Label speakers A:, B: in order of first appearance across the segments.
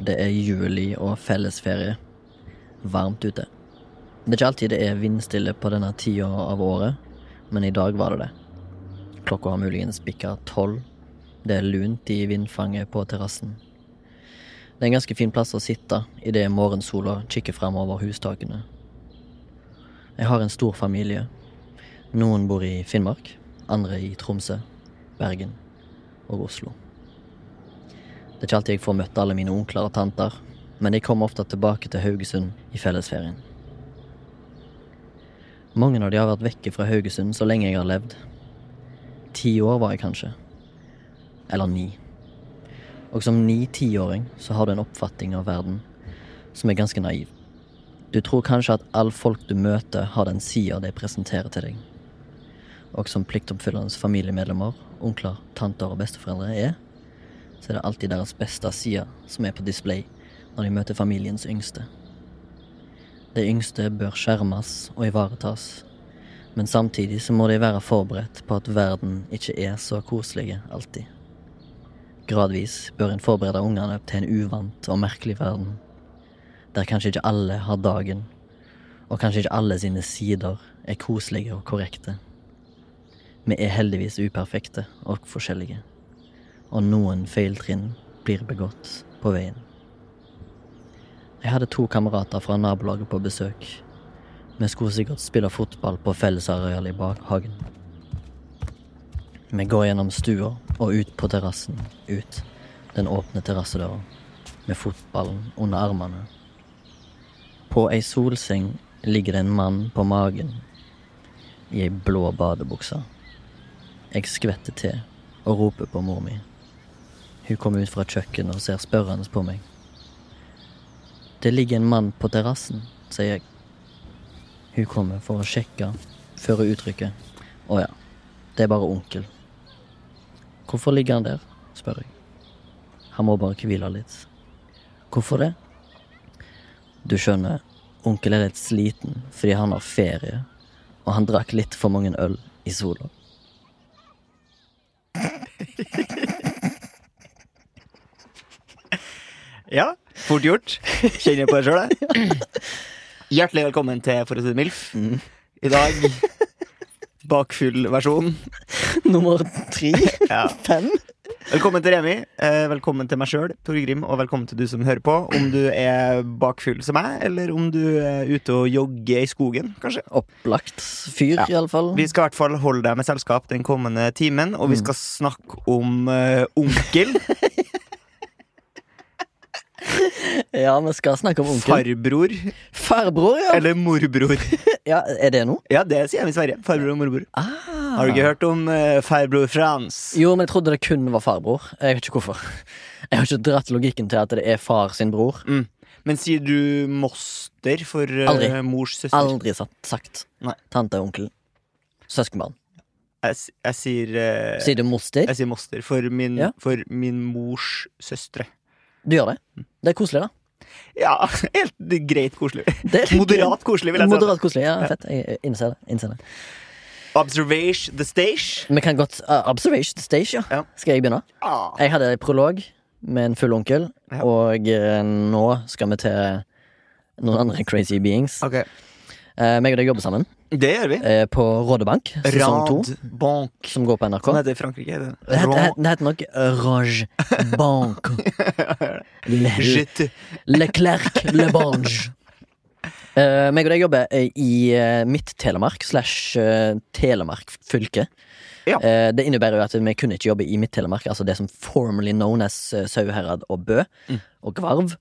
A: Det er juli og fellesferie. Varmt ute. Det er ikke alltid det er vindstille på denne tida av året, men i dag var det det. Klokka har muligens bikka tolv. Det er lunt i vindfanget på terrassen. Det er en ganske fin plass å sitte idet morgensola kikker framover hustakene. Jeg har en stor familie. Noen bor i Finnmark, andre i Tromsø, Bergen og Oslo. Det er ikke alltid jeg får møtt alle mine onkler og tanter, men de kommer ofte tilbake til Haugesund i fellesferien. Mange av de har vært vekke fra Haugesund så lenge jeg har levd. Ti år var jeg kanskje. Eller ni. Og som ni-tiåring så har du en oppfatning av verden som er ganske naiv. Du tror kanskje at all folk du møter, har den sida de presenterer til deg. Og som pliktoppfyllende familiemedlemmer, onkler, tanter og besteforeldre er, så er det alltid deres beste side som er på display når de møter familiens yngste. De yngste bør skjermes og ivaretas, men samtidig så må de være forberedt på at verden ikke er så koselig alltid. Gradvis bør en forberede ungene til en uvant og merkelig verden, der kanskje ikke alle har dagen, og kanskje ikke alle sine sider er koselige og korrekte. Vi er heldigvis uperfekte og forskjellige og noen feiltrinn blir begått på veien. Jeg hadde to kamerater fra nabolaget på besøk. Vi skulle sikkert spille fotball på fellesarealet i bakhagen. Vi går gjennom stua og ut på terrassen, ut den åpne terrassedøra, med fotballen under armene. På ei solseng ligger det en mann på magen, i ei blå badebukse. Jeg skvetter til og roper på mor mi. Hun kommer ut fra kjøkkenet og ser spørrende på meg. Det ligger en mann på terrassen, sier jeg. Hun kommer for å sjekke før hun uttrykker. Å ja, det er bare onkel. Hvorfor ligger han der, spør jeg. Han må bare hvile litt. Hvorfor det? Du skjønner, onkel er litt sliten fordi han har ferie, og han drakk litt for mange øl i sola.
B: Ja, fort gjort. Kjenner på det sjøl, jeg. Hjertelig velkommen til For å si det MILF. I dag bakfull versjon.
A: Nummer tre?
B: Ja.
A: Fem?
B: Velkommen til Remi, eh, velkommen til meg sjøl, Torgrim, og velkommen til du som hører på. Om du er bakfull som meg, eller om du er ute og jogger i skogen, kanskje.
A: Opplagt fyr,
B: Ja.
A: i alle fall.
B: Vi skal i hvert fall holde deg med selskap den kommende timen, og vi Mm. skal snakke om eh, onkel.
A: Ja, vi skal snakke om onkel.
B: Farbror
A: Farbror, ja.
B: eller morbror.
A: ja! Er det noe?
B: Ja, det sier de i Sverige. Farbror og morbror.
A: Ah.
B: Har du ikke hørt om eh, farbror Frans?
A: Jo, men jeg trodde det kun var farbror. Jeg vet ikke hvorfor. Jeg har ikke dratt logikken til at det er far sin bror.
B: Mm. Men sier du moster for eh,
A: Aldri.
B: mors søster?
A: Aldri sagt. sagt.
B: Nei.
A: Tante, onkel, søskenbarn.
B: Jeg, s- jeg sier eh,
A: Sier du moster?
B: Jeg sier moster for min,
A: Ja.
B: for min mors søstre.
A: Du gjør det. Det er koselig, da.
B: Ja, helt greit koselig.
A: Det er
B: Moderat koselig, vil jeg si.
A: Moderat koselig. Ja, fett. Jeg jeg innser det. Innser det.
B: Observation the stage.
A: Vi kan godt uh, Observation stage, ja.
B: Ja.
A: Skal jeg begynne?
B: Ah.
A: Jeg hadde en prolog med en full onkel,
B: Ja.
A: og eh, nå skal vi til noen andre crazy beings.
B: Ok,
A: Eh, meg og deg jobber sammen
B: Det gjør vi.
A: eh, på Rådebank, Eh, sesong to,
B: Radbank.
A: som går på NRK.
B: Sånn heter det i Frankrike. er
A: Det
B: Det.
A: het-
B: Rad-
A: het- det heter nok eh, Range Banque. Le,
B: Je te-
A: le Clerc Le Bange. Uh, meg og deg jobber eh, i eh, Midt-Telemark slash eh, Telemark fylke.
B: Ja.
A: Eh, det innebærer jo at vi kunne ikke jobbe i Midt-Telemark, altså det som formerly known as eh, Sauherad og Bø
B: Mm.
A: og Gvarv.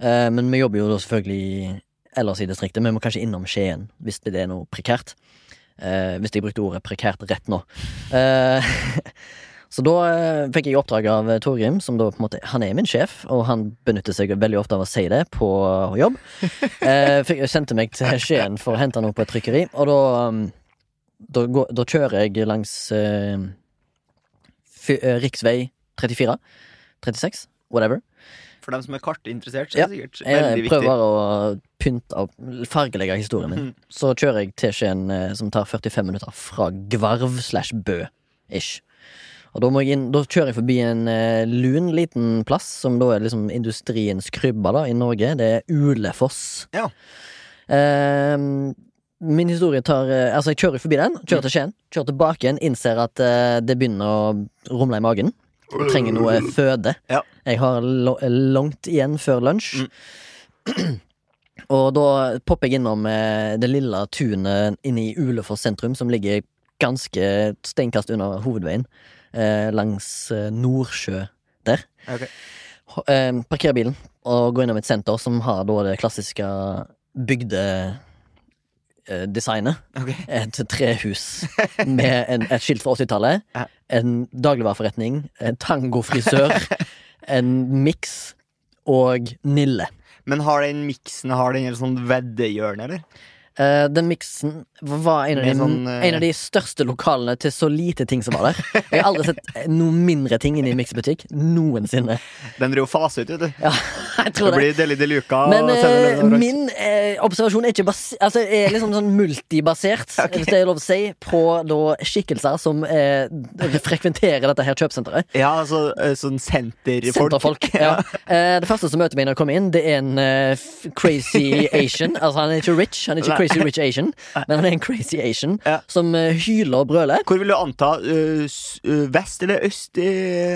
A: Eh, men vi jobber jo da selvfølgelig ellers i distriktet. Vi må kanskje innom Skien hvis det er noe prekært. Eh, hvis jeg brukte ordet prekært rett nå. Eh, Så da eh, fikk jeg oppdrag av eh, Torgrim, som da på en måte Han er min sjef, og han benytter seg veldig ofte av å si det på eh, jobb. Eh, fikk, sendte meg til Skien for å hente noe på et trykkeri, og da um, Da, går, da kjører jeg langs eh, fy, eh, riksvei 34. 36. Whatever.
B: For dem som er kartinteressert, så
A: Ja,
B: er det sikkert
A: Jeg
B: veldig viktig.
A: prøver å pynte opp, fargelegge historien min.
B: Mm.
A: Så kjører jeg til Skien, eh, som tar 45 minutter fra Gvarv slash Bø. Ish. Og da, må jeg inn, da kjører jeg forbi en eh, lun liten plass, som da er liksom industriens krybbe da, i Norge. Det er Ulefoss.
B: Ja.
A: Eh, min historie tar eh, Altså, jeg kjører forbi den, kjører
B: Mhm.
A: til Skien, kjører tilbake igjen, innser at eh, det begynner å rumle i magen. Jeg trenger noe føde.
B: Ja.
A: Jeg har lo- eh, langt igjen før lunsj.
B: Mm.
A: Og da popper jeg innom eh, det lille tunet inne i Ulefoss sentrum, som ligger ganske steinkast under hovedveien, eh, langs eh, Nordsjø der.
B: Ok.
A: Ho- Eh, parkerer bilen og går innom et senter som har da det klassiske bygdedesignet. Eh, designet
B: Ok.
A: et trehus med en, et skilt fra 80-tallet,
B: Ja.
A: en dagligvareforretning, en tangofrisør, en miks og Nille.
B: Men har den miksen Har den et sånt veddehjørne, eller?
A: Eh, den miksen var en av, de,
B: Med sånn, eh,
A: en av de største lokalene til så lite ting som var der. Jeg har aldri sett eh, noe mindre ting inne i miksbutikk noensinne.
B: Den driver og faser ut, vet du.
A: Ja, jeg
B: Det
A: tror det.
B: blir Deli de Luca.
A: Men
B: og
A: eh,
B: Seven Eleven og Rox.
A: min eh, observasjon er ikke basi altså, er liksom sånn multibasert,
B: Ok.
A: hvis det er lov å si, på da, skikkelser som eh, frekventerer dette her kjøpesenteret.
B: Ja, altså eh, sånn senterfolk.
A: Senterfolk. Ja. Eh, det første som møter meg når jeg kommer inn, det er en eh, f- crazy Asian. Altså Han er ikke rich, han er ikke
B: Nei.
A: crazy rich Asian, men han er en crazy Asian
B: Ja.
A: som eh, hyler og brøler.
B: Hvor vil du anta? eh, s- eh, vest eller øst i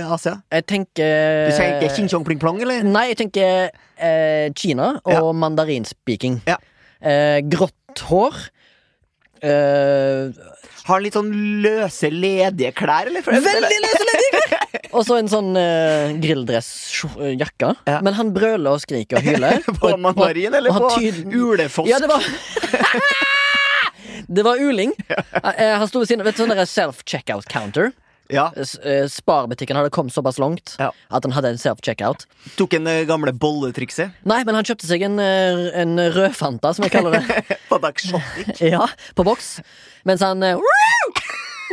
B: Asia?
A: Jeg tenker eh,
B: Du sier ikke Xinjiang Pling Plong, eller?
A: Nei, jeg tenker eh, Kina og
B: Ja.
A: mandarinspeaking.
B: Ja.
A: Eh, grått hår. Eh,
B: Har litt sånn løse, ledige klær, eller? For-
A: Veldig løse ledninger! Og så en sånn eh, grilldressjakke.
B: Ja.
A: Men han brøler og skriker og hyler.
B: På mandarin, eller
A: og
B: på
A: han tyd-
B: ulefoss?
A: Ja, det var Det var uling. Eh, Han sto ved siden av et sånn derre self-checkout counter.
B: Ja.
A: S- eh, Sparbutikken hadde kommet såpass langt
B: Ja.
A: at han hadde en self-checkout.
B: Tok en eh, gamle bolletrikset.
A: Nei, men han kjøpte seg en, eh, en rød Fanta, som jeg kaller det.
B: På dagshopping.
A: Ja, på boks. Mens han eh, woo!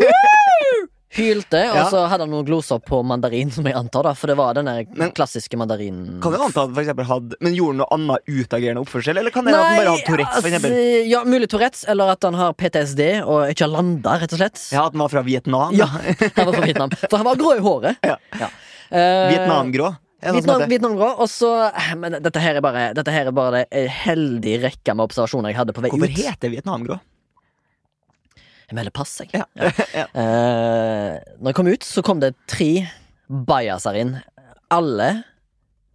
A: Woo! Hylte, og
B: Ja.
A: så hadde han noen gloser på mandarin, som jeg antar, da. For det var den der
B: Men-
A: klassiske mandarinen.
B: Kan jo anta at han for eksempel hadde Men gjorde han noe annet utagerende oppførsel, eller kan det være at han bare hadde Tourettes, for eksempel?
A: altså, ja, mulig Tourettes, eller at han har PTSD og ikke har landa, rett og slett.
B: Ja, at han var fra Vietnam?
A: altså- Ja,
B: da.
A: han var fra Vietnam. For han var grå i håret.
B: Ja. sånn
A: Eh,
B: Vietnamgrå? altså, er det noe som
A: Vietnam,
B: heter?
A: Vietnamgrå. Og så eh, Men dette her er bare Dette her er bare det heldige rekka med observasjoner jeg hadde på vei
B: Hvorfor
A: ut.
B: heter det Vietnamgrå?
A: Jeg melder pass, jeg.
B: Ja. Ja.
A: Eh, når jeg kom ut, så kom det tre bajaser inn. Alle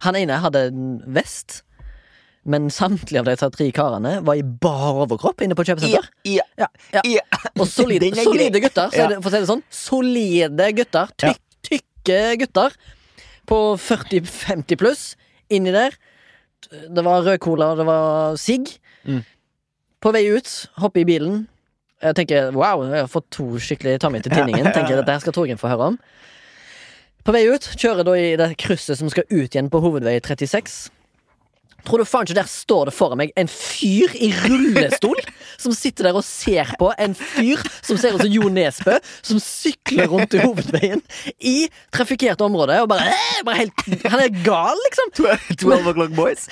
A: Han ene hadde en vest, men samtlige av de tre karene var i bar overkropp inne på kjøpesenter.
B: I-
A: Ja, ja.
B: i-
A: Og solide,
B: Den er grei.
A: solide gutter, så
B: Ja.
A: er det, for å si det sånn. Solide gutter.
B: Ja.
A: Tyk, Tykke gutter på 40-50 pluss. Inni der. Det var rød cola, det var sigg.
B: Mm.
A: På vei ut, hoppe i bilen. Jeg tenker wow, jeg har fått to skikkelig ta med til tinningen. Tenker jeg, Dette her skal Torgrim få høre om. På vei ut, kjører da i det krysset som skal ut igjen på hovedvei 36. Tror du faen ikke der står det foran meg en fyr i rullestol som sitter der og ser på en fyr som ser ut som Jo Nesbø, som sykler rundt i hovedveien i trafikkert område og bare, "Æ!" bare helt, Han er gal, liksom!
B: 12 O'Clock Boys?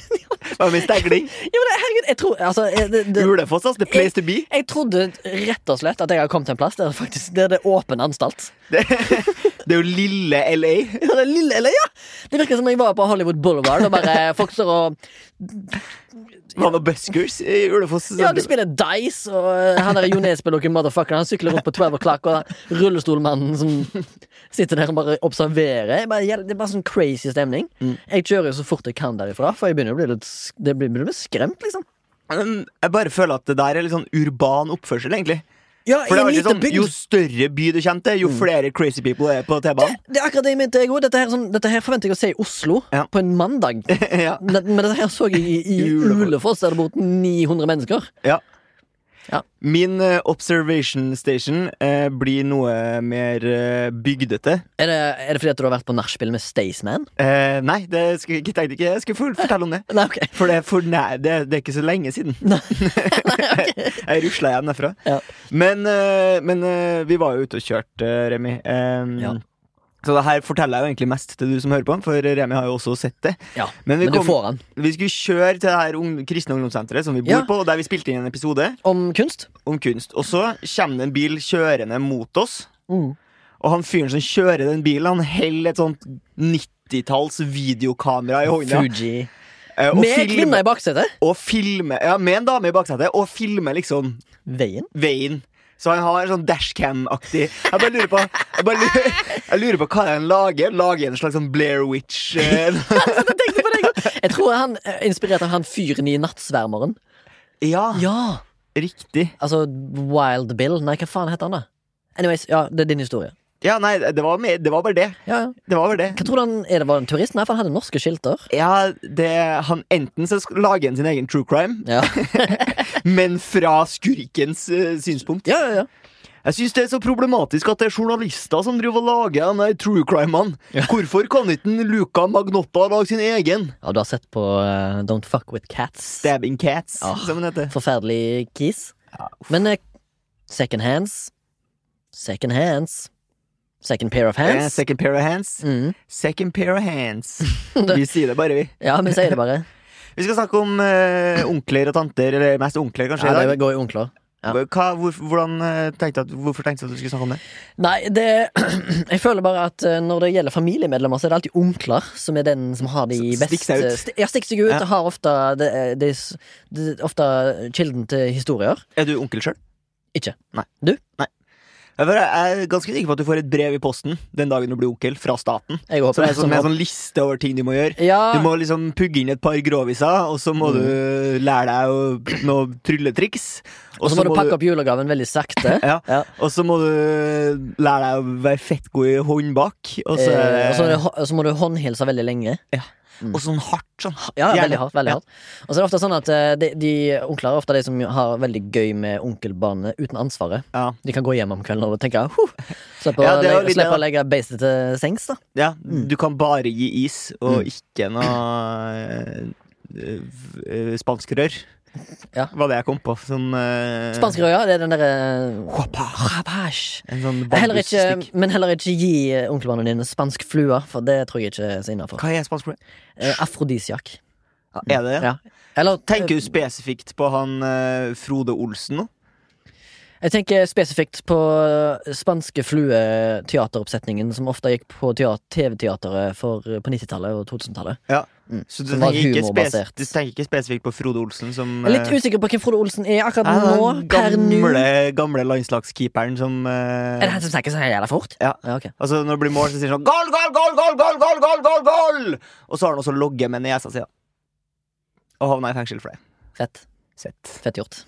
B: Hva med stagling?
A: Ja, men herregud, jeg tror altså, eh, det, det,
B: Ulefoss, altså. The place to be.
A: Jeg trodde rett og slett at jeg hadde kommet til en plass der, faktisk, der det er åpen anstalt.
B: Det, det er jo lille LA.
A: Ja, det er lille, eller ja Det virker som om jeg var på Hollywood Boulevard og bare folk står og
B: Var det noe buskers i Ulefoss?
A: Ja, de spiller dice, og eh, han der Jo Nesbø og motherfucker Han sykler rundt på 12 o'clock, og rullestolmannen som sitter der og bare observerer. Jeg bare, det er bare sånn crazy stemning.
B: Mm.
A: Jeg kjører jo så fort jeg kan derifra, for jeg begynner å bli litt s- det blir- begynner å bli skremt, liksom.
B: Men Jeg bare føler at det der er litt sånn urban oppførsel, egentlig.
A: Ja,
B: For det er alltid sånn, Jo større by du kommer til, jo
A: Mm.
B: flere crazy people er på T-banen.
A: Det er akkurat det jeg mente, jeg òg. Dette, her sånn, dette her forventer jeg å se i Oslo
B: Ja.
A: på en mandag.
B: ja.
A: Men men dette her så jeg i, i
B: I Ulefoss.
A: Ulefoss, der det bor 900 mennesker.
B: ja.
A: Ja.
B: Min eh, observation station eh, blir noe mer eh, bygdete.
A: Er det, er det fordi at du har vært på nachspiel med Staysman?
B: Eh, nei, det skulle, jeg tenkte ikke jeg skulle for- fortelle om det.
A: Nei, ok.
B: For det er, for nær, det, er- det er ikke så lenge siden. jeg rusla hjem derfra.
A: Ja.
B: Men, eh, men eh, vi var jo ute og kjørte, eh, Remi. Eh,
A: Ja.
B: Så det her forteller jeg jo egentlig mest til du som hører på, for Remi har jo også sett det.
A: Ja.
B: Men vi,
A: Men du
B: kom,
A: får han.
B: vi skulle kjøre til det her ung, kristne ungdomssenteret som vi bor
A: Ja.
B: på, og der vi spilte inn en episode
A: Om kunst?
B: om kunst. Og så kommer det en bil kjørende mot oss,
A: Mm.
B: og han fyren som kjører den bilen, han holder et sånt 90-talls videokamera i hånda.
A: Fuji.
B: eh, og
A: Med
B: filmer-
A: kvinner i baksetet.
B: og filme Ja, med en dame i baksetet, og filme liksom
A: Veien.
B: veien. Så han har en sånn dashcam-aktig Jeg bare lurer på Jeg, bare lurer, jeg lurer på hva han lager. Lager en slags sånn Blair Witch eh,
A: Jeg tror han er inspirert av han fyren i Nattsvermeren.
B: Ja,
A: Ah. Ja!
B: riktig.
A: Altså Wild Bill. Nei, hva faen heter han da? Anyways, ja, det er din historie.
B: Ja, nei, det var, mer- det var bare det.
A: Ja, ja.
B: Det var bare det.
A: Hva tror du han er det var en turist? Nei, for han hadde norske skilter.
B: Ja, det, han Enten så sk- lager han sin egen true crime,
A: Ja,
B: men fra skurkens eh, synspunkt.
A: ja, ja. ja.
B: Jeg syns det er så problematisk at det er journalister som driver og lager den der true crime-en. Hvorfor kan ikke en Luca Magnotta lage sin egen?
A: ja du har sett på eh, Don't Fuck With Cats.
B: Stabbing Cats,
A: Ah.
B: som den heter.
A: Forferdelig kis. Men eh, second hands Second hands. Second pair of
B: Eh,
A: hands.
B: Second pair of hands.
A: Mm.
B: Second pair of hands. Vi sier det bare, vi.
A: Ja, vi sier det bare.
B: Vi skal snakke om eh, onkler og tanter, eller mest onkler, kanskje.
A: Ja,
B: i
A: det
B: dag.
A: går i onkler. ja.
B: Hva, hvor, hvordan, eh, tenkte at, hvorfor tenkte du at du skulle snakke om det?
A: Nei, det Jeg føler bare at eh, når det gjelder familiemedlemmer, så er det alltid onkler som er den som har de
B: S-
A: beste
B: stikker seg ut.
A: st- Ja, stikker seg ut.
B: Ja.
A: og Har ofte det, er- det, er s- det, er ofte kilden til historier.
B: Er du onkel sjøl?
A: Ikke.
B: Nei.
A: Du?
B: Nei. Jeg er- jeg er ganske sikker på at du får et brev i posten den dagen du blir onkel, fra staten.
A: Jeg
B: Så
A: håper
B: det er
A: det.
B: sånn, med en
A: Som,
B: sånn liste over ting du må gjøre. Du
A: ja,
B: må liksom pugge inn et par groviser, og så må
A: Mm.
B: du lære deg å- noe trylletriks.
A: og så må du pakke opp julegaven veldig sakte.
B: Ja.
A: Ja.
B: Og så må du lære deg å være fett god i håndbak. Og så,
A: Eh, Og så, er det hå- så må du håndhilse veldig lenge.
B: og sånn hardt sånn.
A: Ja,
B: Gjerne.
A: veldig hardt. veldig
B: Ja.
A: hardt Og så er det ofte sånn at eh, de, de onkler er ofte de som har veldig gøy med onkelbarnet uten ansvaret.
B: Ja.
A: De kan gå hjem om kvelden og tenke huh, Slippe
B: Ja,
A: å
B: det er
A: legge-
B: jo litt Mm. det,
A: slippe
B: da.
A: å legge beistet til sengs, da.
B: ja, Du kan bare gi is, og
A: Mm.
B: ikke noe eh, eh, spanskrør.
A: Ja.
B: Var det jeg kom på. Sånn eh,
A: Spanskerøya, det er den derre Rabash.
B: En sånn
A: Heller ikke,
B: bambusstikk.
A: men heller ikke gi onkelbarnet dine spansk flue, for det tror jeg ikke er så innafor. Eh,
B: Hva er spanskrør?
A: Afrodisiak.
B: Er det det?
A: Ja. Eller
B: Tenker du spesifikt på han eh, Frode Olsen nå?
A: Jeg tenker spesifikt på eh, spanske flue-teateroppsetningen som ofte gikk på teat- TV-teateret for- eh, på 90-tallet og 2000-tallet.
B: Ja.
A: Mm.
B: Så du
A: Som var
B: tenker, ikke spes-
A: humorbasert.
B: du tenker ikke spesifikt på Frode Olsen som
A: Jeg er litt
B: eh,
A: usikker på hvem Frode Olsen er akkurat
B: er
A: nå.
B: Ah, den
A: Per nå.
B: gamle, gamle landslagskeeperen som eh,
A: Er det han som snakker så jævla fort?
B: Ja.
A: ok.
B: Altså Når det blir mål, så sier han sånn Goal, goal, goal, goal, goal, goal, goal, goal, goal! Og så har han også logget med nesa si. da. Og havna i fengsel for det.
A: Fett.
B: Sett.
A: Fett gjort.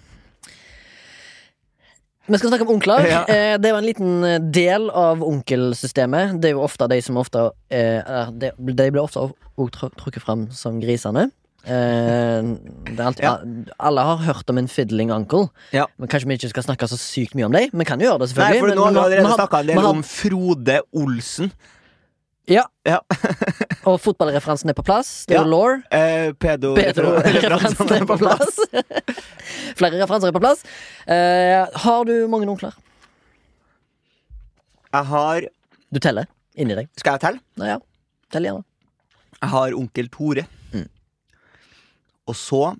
A: Vi skal snakke om onkler.
B: Ja.
A: Eh, Det er jo en liten eh, del av onkelsystemet. Det er jo ofte de som ofte eh, er- De de blir ofte også tr- trukket fram som grisene. Eh, det er alt,
B: Ja.
A: Alle har hørt om en fiddling uncle.
B: Ja.
A: Men Kanskje vi ikke skal snakke så sykt mye om dem. Vi kan jo gjøre det,
B: Nei,
A: selvfølgelig.
B: for
A: men-
B: nå har vi
A: men-
B: allerede
A: men-
B: snakka en del
A: men han-
B: om Frode Olsen.
A: Ja.
B: Ja.
A: Og fotballreferansen er på plass. Det er
B: Ja.
A: jo law.
B: Eh, pedo...
A: Pedo-referansen er på plass. Flere referanser er på plass. Eh, har du mange onkler?
B: Jeg har
A: Du teller inni deg.
B: Skal jeg telle?
A: Nå ja, tell gjerne.
B: Jeg har onkel Tore.
A: Mm.
B: Og så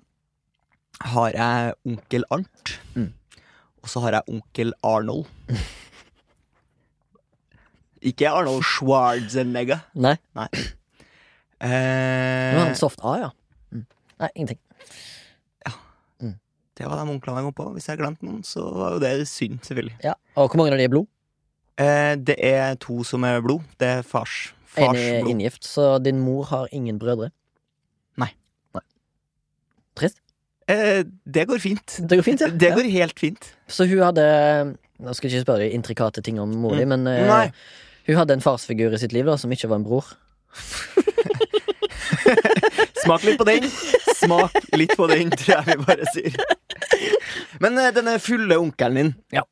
B: har jeg onkel Arnt.
A: Mm.
B: Og så har jeg onkel Arnold. Ikke Arnold Schwarzenegger.
A: Nei, du har
B: Eh,
A: en soft A, ja. Mm. Nei, ingenting.
B: det var de onklene jeg kom på. Hvis jeg glemte noen, så var jo det synd, selvfølgelig.
A: Ja. Og hvor mange av de er blod?
B: Eh, det er to som er blod. Det er fars.
A: En
B: Fars
A: er
B: blod.
A: inngift, så din mor har ingen brødre.
B: Nei.
A: Nei. Trist.
B: Eh, det går fint.
A: Det går fint, ja.
B: Det
A: ja.
B: går helt fint.
A: Så hun hadde Nå skal jeg ikke spørre deg intrikate ting om mor di, men eh,
B: Mm. Nei.
A: hun hadde en farsfigur i sitt liv da som ikke var en bror.
B: Smak litt på den. Smak litt på den, tror jeg vi bare sier. Men eh, denne fulle onkelen din,
A: Ja.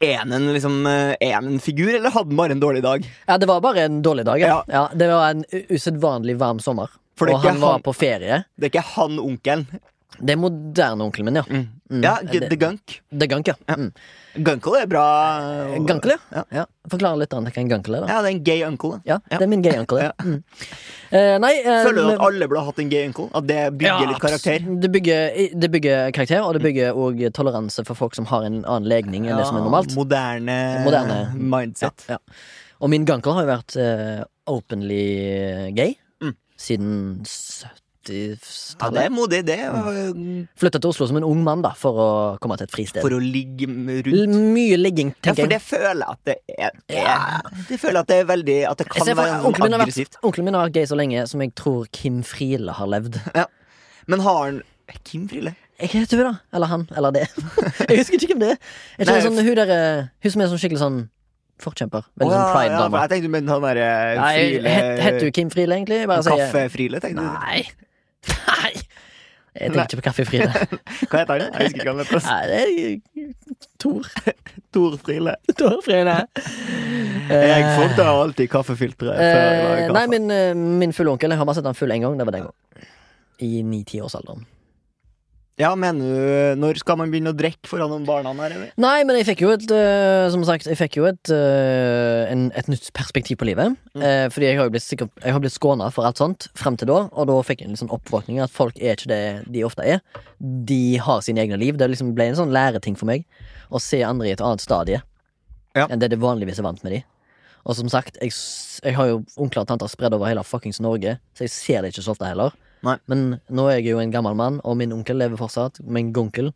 B: er han en, liksom, eh, er han en figur, eller hadde han bare en dårlig dag?
A: Ja, det var bare en dårlig dag. Ja.
B: Ja.
A: Ja, det var en u- usedvanlig varm sommer.
B: For det er
A: og han
B: ikke
A: var
B: han-
A: på ferie.
B: Det er ikke han onkelen.
A: Det er moderne onkelen min, ja. Mm.
B: Ja,
A: Det-
B: G The Gunk.
A: Det er gunk, ja. Mm.
B: Gunkle er bra. eh,
A: Gunkle, ja.
B: Ja.
A: ja. Forklare litt annet hva en gunkle er, da.
B: Ja, det er en gay uncle. da.
A: Ja, det er min gay uncle. Ja. Mm. Eh, nei eh,
B: Føler du
A: men-
B: at alle burde hatt en gay uncle? At det bygger
A: Ja,
B: litt karakter?
A: abs- Det bygger, det bygger karakter, og det bygger òg toleranse for folk som har en annen legning enn det som er normalt.
B: Moderne,
A: Moderne.
B: mindset.
A: Ja. Og min gunkle har jo vært eh, openly gay
B: Mm.
A: siden
B: Ja, det
A: 70-tallet.
B: er modig. Det er
A: Mm.
B: eh,
A: Flytta til Oslo som en ung mann da for å komme til et fristed.
B: for å ligge m-
A: L-
B: rundt.
A: Mye ligging,
B: Ja, for
A: tenker
B: det
A: jeg.
B: føler jeg at det er,
A: Ja.
B: er Det føler jeg at det er veldig At det
A: Jeg
B: kan
A: ser for-
B: være
A: Onkelen min,
B: sånn
A: har
B: aggressivt.
A: vært, onkelen min har vært gay så lenge som jeg tror Kim Friele har levd.
B: Men har han Kim Friele?
A: Jeg vet ikke, da. Eller han. Eller det. Jeg husker ikke hvem det er. Er ikke
B: Nei,
A: det sånn, hun, der, eh, hun som er sånn skikkelig sånn forkjemper. Veldig sånn
B: Å, ja, ja, for
A: pride-dame.
B: jeg tenkte du mente han derre
A: Nei, het- Heter
B: Friele
A: du Kim Friele, egentlig? Bare sier
B: Kaffe-Friele, tenkte du.
A: Nei. Nei. Jeg
B: Nei.
A: tenker ikke på Kaffe Friele.
B: Hva heter han? Jeg husker ikke hva han heter.
A: Nei, det er Tor.
B: Tor Friele.
A: Tor Friele.
B: Jeg fant da alltid kaffefilteret før jeg
A: Eh,
B: laget
A: nei,
B: kaffe.
A: min, eh, min fulle onkel. Jeg har bare sett han full en gang. Det var den gang. I ni-tiårsalderen.
B: Ja, mener du Når skal man begynne å drikke foran de barna her, eller?
A: Nei, men jeg fikk jo et eh, Som sagt, jeg fikk jo et, eh, en, et nytt perspektiv på livet. Eh, fordi jeg har jo blitt, sikkert- jeg har blitt skåna for alt sånt frem til da, og da fikk jeg en litt sånn oppvåkning at folk er ikke det de ofte er. De har sine egne liv. Det liksom ble en sånn læreting for meg å se andre i et annet stadie
B: Ja.
A: enn det det vanligvis er vant med de. Og som sagt, jeg, s- jeg har jo onkler og tanter spredd over hele fuckings Norge, så jeg ser det ikke så ofte heller.
B: Nei.
A: Men nå er jeg jo en gammel mann, og min onkel lever fortsatt. Min gonkel.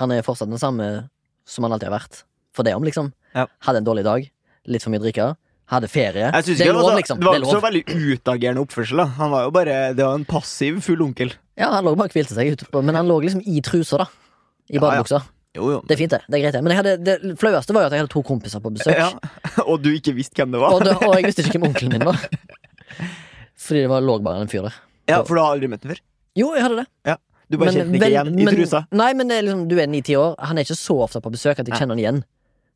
A: Han er fortsatt den samme som han alltid har vært. For det om, liksom.
B: Ja.
A: Hadde en dårlig dag, litt for mye drikke, hadde ferie.
B: Jeg
A: Det
B: synes ikke
A: er
B: det,
A: lov,
B: var, så-
A: liksom.
B: det var
A: Det er
B: ikke
A: lov.
B: så veldig utagerende oppførsel. da Han var jo bare Det var en passiv full onkel.
A: Ja, han lå bare og hvilte seg ute på, men han lå liksom i trusa, da. I badebuksa.
B: Jo, jo.
A: Det er fint, det. det er greit det. Men jeg hadde, det flaueste var jo at jeg hadde to kompiser på besøk,
B: Ja. Og du ikke visste hvem det
A: og,
B: var?
A: det, og jeg visste ikke hvem onkelen min var. Fordi det var, lå bare en fyr der.
B: Ja, For du har aldri møtt den før?
A: Jo, jeg hadde det.
B: Du bare
A: Men
B: kjente den ikke
A: vel-
B: igjen i
A: men-
B: trusa?
A: Nei, men det er liksom, du er ni-ti år. Han er ikke så ofte på besøk at jeg
B: Nei.
A: kjenner han igjen.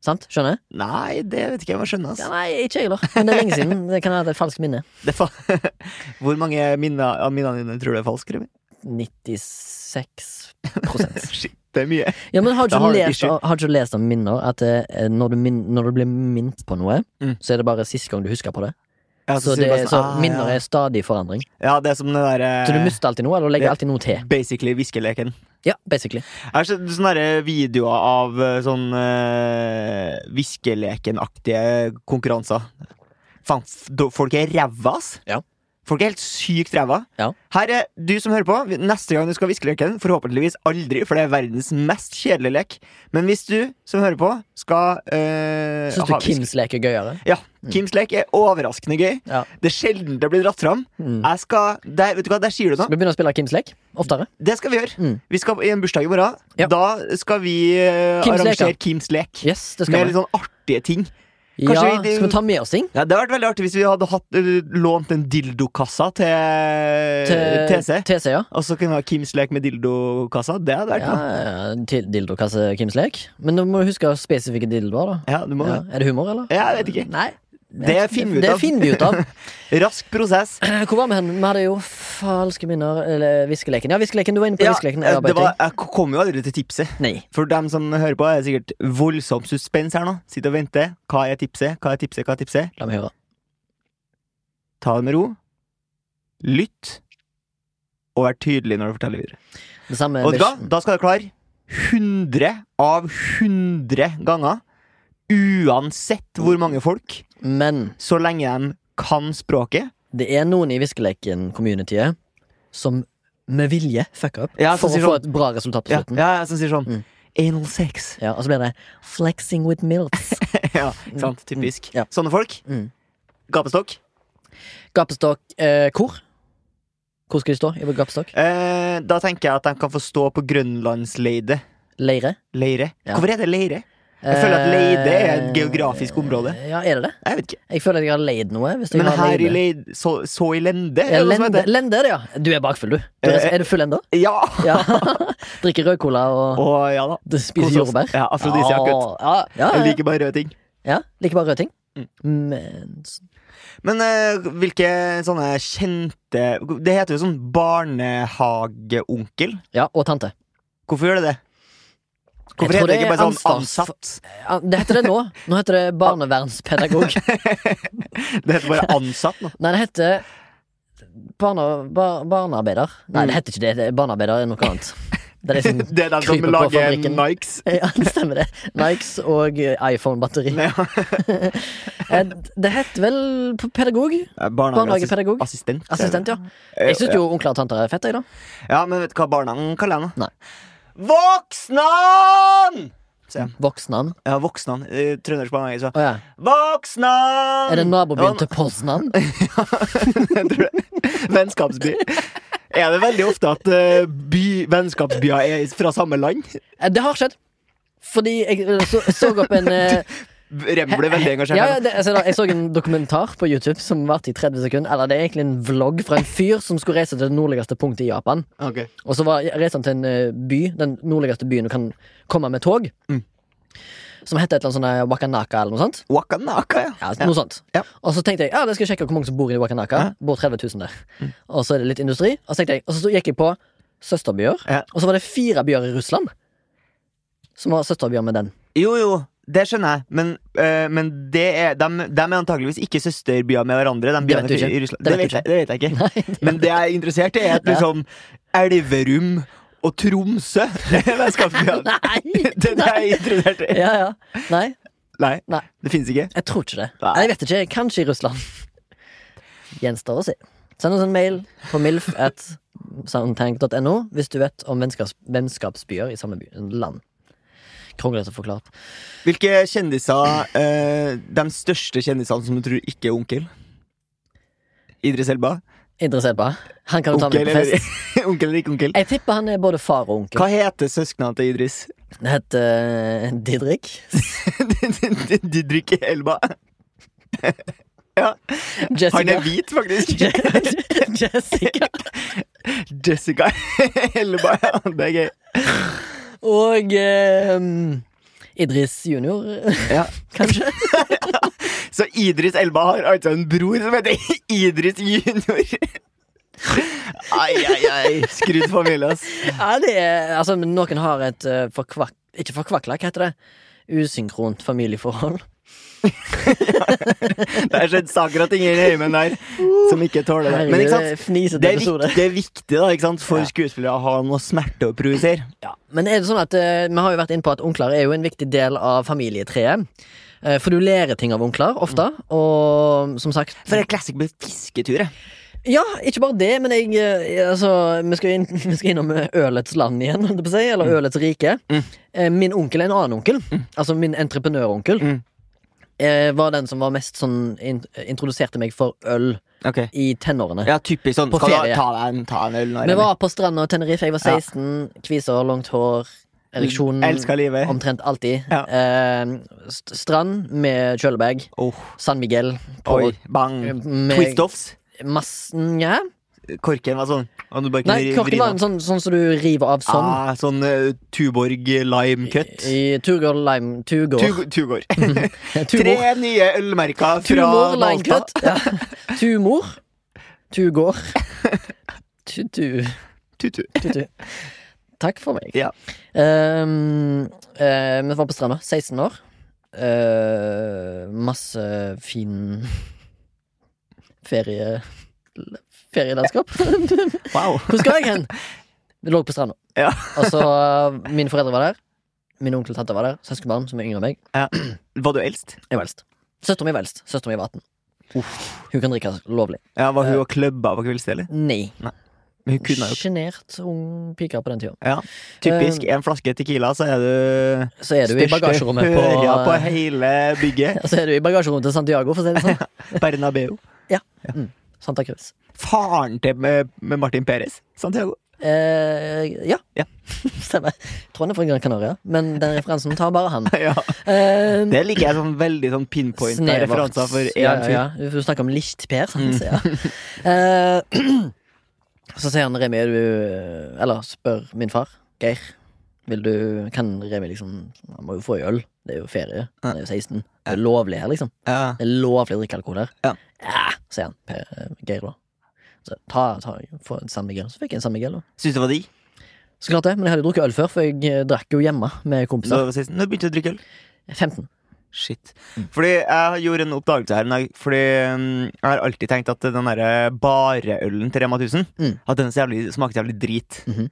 A: Sant? Skjønner jeg?
B: Nei, det vet ikke jeg om jeg skjønner.
A: Ja,
B: ass.
A: nei, ikke jeg heller. Men det er lenge siden. Det kan være et falskt minne.
B: Det er fa Hvor mange minner, av minnene dine tror du er falske? Remi?
A: 96
B: Shit, det er mye.
A: Ja, men har du
B: Da har
A: ikke
B: du et
A: lest,
B: issue.
A: har du ikke lest om minner at eh, når, du min, når du blir minnet på noe,
B: Mm.
A: så er det bare siste gang du husker på det?
B: Ja,
A: Så, det,
B: sier du bare sånn,
A: så
B: ah,
A: minner
B: ja.
A: er stadig i forandring.
B: Ja, det er som den
A: Så du
B: derre
A: mister alltid noe, eller du legger
B: Eh, ja. Eh,
A: alltid noe til.
B: Basically viskeleken.
A: Ja, basically.
B: Jeg har sett sånne der videoer sånn av eh, sånn uh, viskeleken-aktige konkurranser. Faen, f- do- folk er ræva, ass!
A: Ja.
B: Folk er helt sykt ræva.
A: Ja.
B: Her er du som hører på. Neste gang du skal ha viskeleken, forhåpentligvis aldri, for det er verdens mest kjedelige lek. Men hvis du som hører på, skal eh,
A: Syns du
B: ha
A: Kims lek er gøyere?
B: viske- Ja. Kims lek er overraskende gøy.
A: Ja.
B: Det er sjelden det blir dratt fram.
A: Mm.
B: Jeg skal, der, vet du hva, der sier du noe.
A: Skal vi begynne å spille Kims lek oftere?
B: Det skal vi gjøre.
A: Mm.
B: Vi skal i en bursdag i morgen.
A: Ja.
B: Da skal vi eh,
A: Kims lek,
B: arrangere
A: ja.
B: Kims lek.
A: Yes, det
B: Med
A: skal vi.
B: litt sånn artige ting.
A: Ja,
B: kanskje vi-
A: skal vi ta med oss ting?
B: Ja, det hadde vært veldig artig hvis vi hadde hatt, eh, lånt en dildokassa til,
A: Til-
B: TC.
A: TC, ja.
B: Og så kunne vi ha Kims lek med dildokassa. Det hadde vært
A: Ja,
B: noe.
A: ja, til dildokasse Kims lek. Men du må huske spesifikke dildoer, da.
B: Ja, du må
A: Ja. Er det humor, eller?
B: Ja, jeg vet ikke.
A: Nei.
B: Det finner vi ut
A: Det
B: av.
A: finner vi ut av.
B: Rask prosess.
A: Hvor var vi hen? Vi hadde jo falske minner Eller hviskeleken. Ja, hviskeleken. Du var inne på
B: Ja,
A: hviskeleken.
B: eh,
A: Ja,
B: det var, jeg kom jo aldri til tipset.
A: Nei.
B: For dem som hører på, er det sikkert voldsom suspens her nå. Sitter og venter. Hva er tipset? Hva er tipset? Hva er tipset?
A: La meg høre.
B: Ta det med ro. Lytt. Og vær tydelig når du forteller videre.
A: Det samme
B: Og da, da skal du klare 100 av 100 ganger. Uansett hvor mange folk,
A: Men
B: så lenge de kan språket.
A: det er noen i hviskeleken-communityet som med vilje fucker opp
B: Ja,
A: for å
B: som sier
A: få
B: sånn-
A: et bra resultat på
B: Ja,
A: slutten. Ja,
B: ja, ja, Som sier sånn
A: Mm.
B: Anal sex.
A: Og så blir det 'flexing with milks'.
B: ja, ikke sant? Typisk.
A: Mm, ja.
B: Sånne folk.
A: Mm.
B: Gapestokk.
A: Gapestokk eh, Hvor? Hvor skal de stå? I gapestokk?
B: Eh, da tenker jeg at de kan få stå på grønlandsleide.
A: Leire?
B: Leire.
A: Ja.
B: Hvorfor heter det leire? Jeg føler at Leide er et geografisk område.
A: Eh, Ja, er det det?
B: Jeg vet ikke.
A: Jeg føler at jeg har leid noe. Hvis jeg
B: Men
A: har
B: her i
A: leid-
B: Leide Så, så i Lende?
A: Ja,
B: Er det noe som
A: lende,
B: heter?
A: lende er det, ja. Du er bakfull, du. du er,
B: Eh,
A: er du full ennå?
B: Ja!
A: Ja. Drikker rød cola og
B: Og ja da.
A: du spiser
B: Kose oss.
A: jordbær.
B: Ja, afrodisiakkutt.
A: Ja, ja,
B: Jeg
A: ja,
B: liker bare røde ting.
A: ja. Liker bare røde ting.
B: Mm.
A: Men s-
B: Men eh, hvilke sånne kjente Det heter jo sånn barnehageonkel.
A: Ja, og tante.
B: Hvorfor gjør det det? Hvorfor
A: tror
B: heter det
A: det er
B: ikke bare sånn
A: ansvars-
B: ansatt?
A: Ja, Det heter det nå. Nå heter det barnevernspedagog.
B: Det heter bare ansatt nå.
A: Nei, det heter barne, bar, barnearbeider. Nei, det heter ikke det. det er barnearbeider er noe annet. Det er de som
B: Det er den som
A: Kryper på
B: lager
A: fabrikken.
B: Nikes.
A: Ja, det stemmer det. Nikes og eh, iPhone-batteri.
B: Nei, ja.
A: Eh, Det heter vel p- pedagog? Barnehagepedagog?
B: Assistent.
A: Assistent, ja. Jeg syns jo onkler og tanter er fett, jeg, da.
B: Ja, men vet du hva barna kaller jeg
A: Nei.
B: henne? Voksnan!
A: Voksnan.
B: Ja, Voksnan. Uh, Trøndersk barnehage, så.
A: Å ja.
B: Voksnan!
A: Er det nabobyen
B: Ja,
A: til Poznan?
B: jeg tror det. Vennskapsby. Er det veldig ofte at eh, by, vennskapsbyer er fra samme land?
A: Eh, Det har skjedd. Fordi jeg eh, så, så opp en eh,
B: Rem ble veldig engasjert.
A: ja,
B: her
A: ja,
B: nå.
A: det, altså, da, Jeg så en dokumentar på YouTube som varte i 30 sekunder. Eller det er egentlig en vlogg fra en fyr som skulle reise til det nordligste punktet i Japan.
B: Ok.
A: Og så var reiste han til en eh, by, den nordligste byen du kan komme med tog.
B: Mm.
A: Som heter et eller annet sånn eh, Wakanaka eller noe sånt.
B: Wakanaka, ja.
A: Ja, noe sånt.
B: Ja.
A: Og så tenkte jeg ja, det skal jeg sjekke hvor mange som bor i Wakanaka. Bor 30 000 der.
B: Mm.
A: Og så er det litt industri. Og så, tenkte jeg, og så gikk jeg på søsterbyer,
B: Ja.
A: og så var det fire byer i Russland som var søsterbyer med den.
B: Jo, jo, det skjønner jeg, men, eh, men det er, de, er antakeligvis ikke søsterbyer med hverandre. De
A: Det
B: byene
A: vet du ikke.
B: i Russland.
A: Det
B: Det,
A: vet
B: vet
A: du
B: jeg, det vet jeg ikke.
A: Nei,
B: Men det jeg er interessert i, er at
A: Ja.
B: liksom Elverum og Tromsø er vennskapsbyene.
A: Nei!
B: Det er det jeg er interessert i.
A: Ja, ja. Nei,
B: Nei,
A: Nei.
B: det fins ikke.
A: jeg tror ikke det.
B: Nei.
A: Jeg vet ikke. Kanskje i Russland. Gjenstår å se. Send oss en mail på milf at soundtank.no hvis du vet om vennskaps, vennskapsbyer i samme by, land. Kronglete forklart.
B: Hvilke kjendiser eh, De største kjendisene som du tror ikke er onkel? Idris Elba?
A: Interessert på? Han kan du ta
B: Onkel
A: med på fest.
B: eller, onkel eller ikke onkel?
A: Jeg tipper han er både far og onkel.
B: Hva heter søsknene til Idris?
A: Det heter eh, Didrik.
B: Didrik Elba. ja, han er
A: Jessica.
B: hvit, faktisk.
A: Jessica.
B: Jessica Elba, ja, det er gøy.
A: Og ehm, Idris junior,
B: Ja.
A: kanskje.
B: Så Idris Elba har altså en bror som heter Idris Junior. Ai, ai, ai. Skrudd familie, ass.
A: Ja, det er, altså, men noen har et eh, forkvak... Ikke forkvakla, hva heter det? Usynkront familieforhold.
B: Det har skjedd saker og ting i heimen der som ikke tåler det. Men ikke sant?
A: Herregud, fnisete
B: Det er,
A: episode.
B: viktig, det er viktig da, ikke sant, for
A: Ja.
B: skuespillere å ha noe smerte å projisere.
A: Ja. Men er det sånn at eh, vi har jo vært inne på at onkler er jo en viktig del av familietreet. Eh, for du lærer ting av onkler ofte,
B: Mm.
A: og som sagt
B: For en classic med fisketur. jeg.
A: Ja, ikke bare det, men jeg eh, Altså, vi skal, inn, vi skal innom eh, ølets land igjen, holdt jeg på å si. Eller ølets rike.
B: Mm.
A: Eh, Min onkel er en annen onkel. Altså min entreprenøronkel.
B: Mm.
A: eh, Var den som var mest sånn in Introduserte meg for øl i tenårene.
B: Ja, typisk sånn.
A: På
B: Skal du ha-
A: ferie.
B: ta deg en, ta en øl nå?
A: Vi
B: Remi?
A: var på stranda og Tenerife. Jeg var
B: Ja. Mm,
A: 16. Kviser, langt hår, ereksjon
B: Elsker livet.
A: omtrent alltid.
B: Ja.
A: Eh, st strand med kjølebag.
B: Åh,
A: San Miguel. På Eh,
B: Oi, bang.
A: med
B: Twist-offs.
A: massen ja.
B: Korken var sånn. Og du bare kunne
A: Nei,
B: ri-
A: korken
B: vri
A: var
B: den.
A: en sånn, sånn som du river av sånn.
B: Ah, sånn eh, Tuborg lime cut.
A: I Tugor Lime Tugor.
B: Tug- Tugor. Tre
A: Tugor.
B: nye ølmerker fra
A: Tumor Lime
B: Malta.
A: Cut. Ja. Tumor. Tugor. Tutu.
B: Tutu.
A: Tutu. Takk for meg.
B: Ja.
A: Ehm, eh, vi var på stranda, 16 år. Eh, masse fin ferie... ferielandskap. Hvor
B: Wow.
A: skal jeg hen? Vi lå på stranda.
B: Ja.
A: Og så eh, Mine foreldre var der. Min onkel og tante var der. Søskenbarn som er yngre enn meg.
B: Var du eldst?
A: Jeg var eldst. Søsteren min var eldst. Søsteren min var 18. Hun kan drikke lovlig.
B: Ja, Var
A: Eh.
B: hun og klubba på kveldstid, eller?
A: Nei.
B: Men hun kunne ha gjort
A: Sjenert ung pike på den tida.
B: ja. Typisk en flaske Tequila, så er du
A: Så Eh, er du i bagasjerommet på,
B: høra på hele bygget.
A: Ja, Så er du i bagasjerommet til Santiago, for å si det sånn.
B: Bernabeu.
A: Santa Cruz.
B: eh, Faren til med, med Martin Perez. Santiago.
A: Eh, ja.
B: Ja.
A: stemmer. Jeg tror han er fra Gran Canaria, men den referansen tar bare han.
B: ja.
A: Eh,
B: Det liker jeg sånn veldig sånn pinpointa
A: snevert.
B: referanser for én
A: ja,
B: fyr. Mm.
A: ja, ja. Du snakker om Licht-Per, sant? Ja. Eh, så sier han Remi, er du eh, Eller spør min far, Geir. Vil du Kan Remi liksom Han må jo få i øl. Det er jo ferie. Han er jo 16. Det er lovlig her, liksom.
B: Ja.
A: Det er lovlig å drikke alkohol her.
B: Ja.
A: ja sier han. Per, eh, Geir, da. Så ta, ta, få en San Miguel. Så fikk jeg en San Miguel, da.
B: Syns du det var digg?
A: Så klart det, men jeg hadde jo drukket øl før, for jeg eh, drakk jo hjemme med
B: Når
A: kompiser.
B: du var 16? Når begynte du å drikke øl?
A: 15.
B: Shit.
A: Mm.
B: Fordi jeg gjorde en oppdagelse her en dag. Fordi mm, jeg har alltid tenkt at den derre bareølen til Rema 1000
A: Mm.
B: At den så jævlig, smakte jævlig drit.
A: Mhm.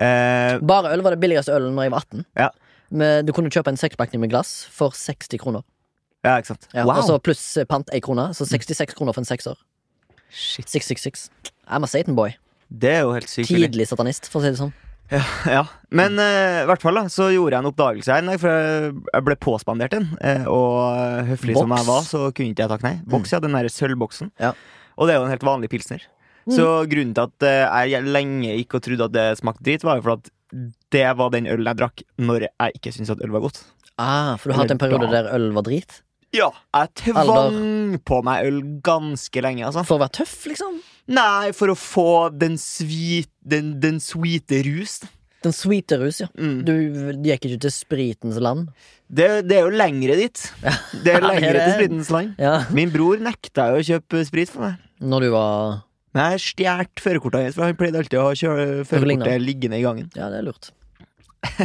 B: eh,
A: Bare øl var det billigste ølen når jeg var 18.
B: Ja.
A: Men du kunne kjøpe en sekspakning med glass for 60 kroner.
B: ja, ikke sant?
A: Ja, Og så pluss eh, pant ei krone, så 66 kroner for en sekser.
B: Shit.
A: 666. I'm a Satan boy.
B: Det er jo helt sykt. billig.
A: Tidlig satanist, for å si det sånn.
B: Ja. Men eh, i hvert fall da, så gjorde jeg en oppdagelse her en dag, for jeg- jeg ble påspandert en. eh, og høflig som
A: Boks.
B: jeg var, så kunne ikke jeg takke nei. Boks, ja. Den derre sølvboksen.
A: Ja.
B: Og det er jo en helt vanlig pilsner. Så grunnen til at eh, jeg lenge gikk og trodde at det smakte drit, var jo for at det var den ølen jeg drakk når jeg ikke syntes at øl var godt.
A: Ah, for du har hatt en periode der øl var drit?
B: Ja, jeg tvang på meg øl ganske lenge, altså.
A: For å være tøff, liksom?
B: Nei, for å få den sweet, den, den sweete rus. da.
A: Den sweete rus, ja.
B: Mm.
A: Du gikk ikke til spritens land?
B: Det, det er jo lengre dit. Det
A: Ja, det
B: er
A: er
B: lengre til
A: det.
B: spritens land.
A: Ja.
B: Min bror nekta jo å kjøpe sprit for meg.
A: Når du var
B: Men jeg stjal førerkortet hans, for han pleide alltid å ha kjø-
A: ligner.
B: førerkortet liggende i gangen.
A: Ja, det er lurt.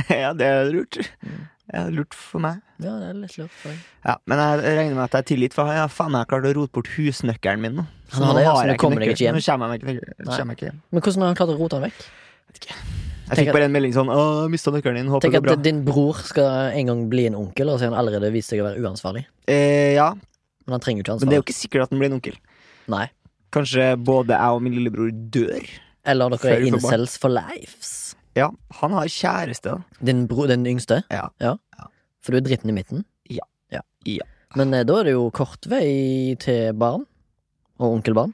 B: ja, det er lurt.
A: Mm.
B: Ja, lurt for meg.
A: Ja, det er litt lurt for deg.
B: Ja, Men jeg regner med at jeg er tilgitt, for ja, faen, jeg har klart å rote bort husnøkkelen min. nå.
A: Han har det, ja, så nå
B: jeg
A: kommer jeg ikke
B: nøkkel.
A: hjem.
B: Nå kommer jeg meg ikke,
A: Nei.
B: kommer jeg ikke hjem.
A: Men hvordan har han klart å rote han vekk?
B: Jeg
A: Tenk
B: fikk
A: at-
B: bare en melding sånn 'Å, jeg mista nøkkelen din. Håper
A: Tenk
B: det går
A: at
B: bra'.
A: din bror skal en gang bli en onkel, og så har han allerede vist seg å være uansvarlig.
B: Eh, ja,
A: Men han trenger jo ikke
B: men det er
A: ansvar.
B: jo ikke sikkert at den blir en onkel.
A: Nei.
B: Kanskje både jeg og min lillebror dør.
A: Eller dere
B: Før
A: er
B: vi får barn.
A: incels for lives.
B: Ja, han har kjæreste, da.
A: Din bror, den yngste?
B: Ja.
A: For du er dritten i midten?
B: Ja.
A: ja.
B: Ja.
A: Men eh, da er det jo kort vei til barn. Og onkelbarn. Og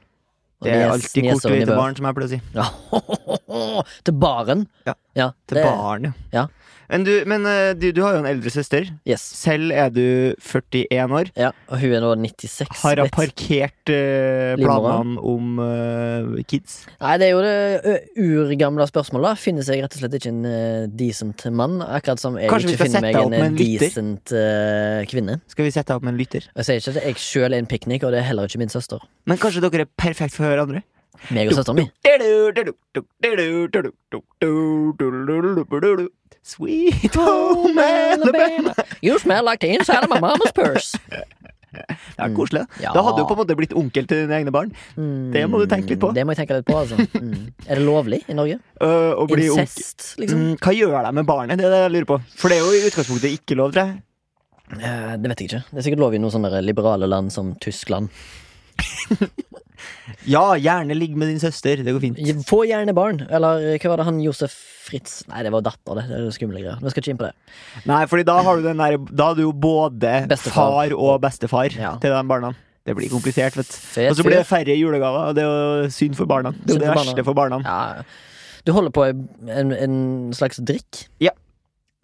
B: Det er
A: nies-
B: alltid
A: nieser
B: kort
A: og
B: vei til
A: nevøer.
B: barn, som jeg pleier å si.
A: Ja. til baren.
B: Ja. Til
A: det-
B: barn, ja.
A: ja.
B: Men, du, men eh, du, du har jo en eldre søster.
A: Yes.
B: Selv er du 41 år.
A: Ja, og hun er nå 96.
B: Har hun
A: blitt.
B: parkert eh,
A: Livmora.
B: planene om eh, kids?
A: Nei, det er jo det ø, urgamle spørsmålet. da. Finnes jeg rett og slett ikke en eh, decent mann? Akkurat som jeg
B: Kanskje vi
A: ikke
B: skal
A: finner
B: sette
A: meg
B: deg opp
A: en,
B: med en lytter?
A: decent eh, kvinne.
B: Skal vi sette deg opp med en lytter?
A: Jeg sier ikke at jeg sjøl er en piknik, og det er heller ikke min søster.
B: Men kanskje dere er perfekt for hverandre?
A: Meg og søsteren min.
B: Sweet
A: Oh,
B: home Alabama.
A: You smell like the inside of my mama's purse.
B: Det er koselig. da.
A: Mm. Ja.
B: Da hadde du på en måte blitt onkel til dine egne barn. Det må du tenke litt på.
A: Det må jeg tenke litt på, altså. Mm. Er det lovlig i Norge?
B: Øh, å bli onkel.
A: Incest, liksom?
B: Mm, Hva gjør de med barnet? Det er det jeg lurer på. For det er jo i utgangspunktet ikke lov, tror jeg. Mm.
A: Eh, det vet jeg ikke. Det er sikkert lov i noen sånne liberale land som Tyskland.
B: Ja, gjerne ligg med din søster. Det går fint.
A: Få gjerne barn. Eller eh, hva var det han Josef Fritz Nei, det var datter, det. Det er jo skumle greier. Vi skal ikke inn på det.
B: Nei, fordi da har du den der Da har du jo både
A: Bestefar.
B: far og bestefar
A: Ja.
B: til de barna. Det blir komplisert, vet du.
A: Fet
B: Og så Altså, blir
A: fyr.
B: det færre julegaver, og det er jo synd for barna. Det er
A: Synd
B: jo det
A: for barna.
B: verste for barna.
A: Ja. Du holder på en, en slags drikk
B: Ja.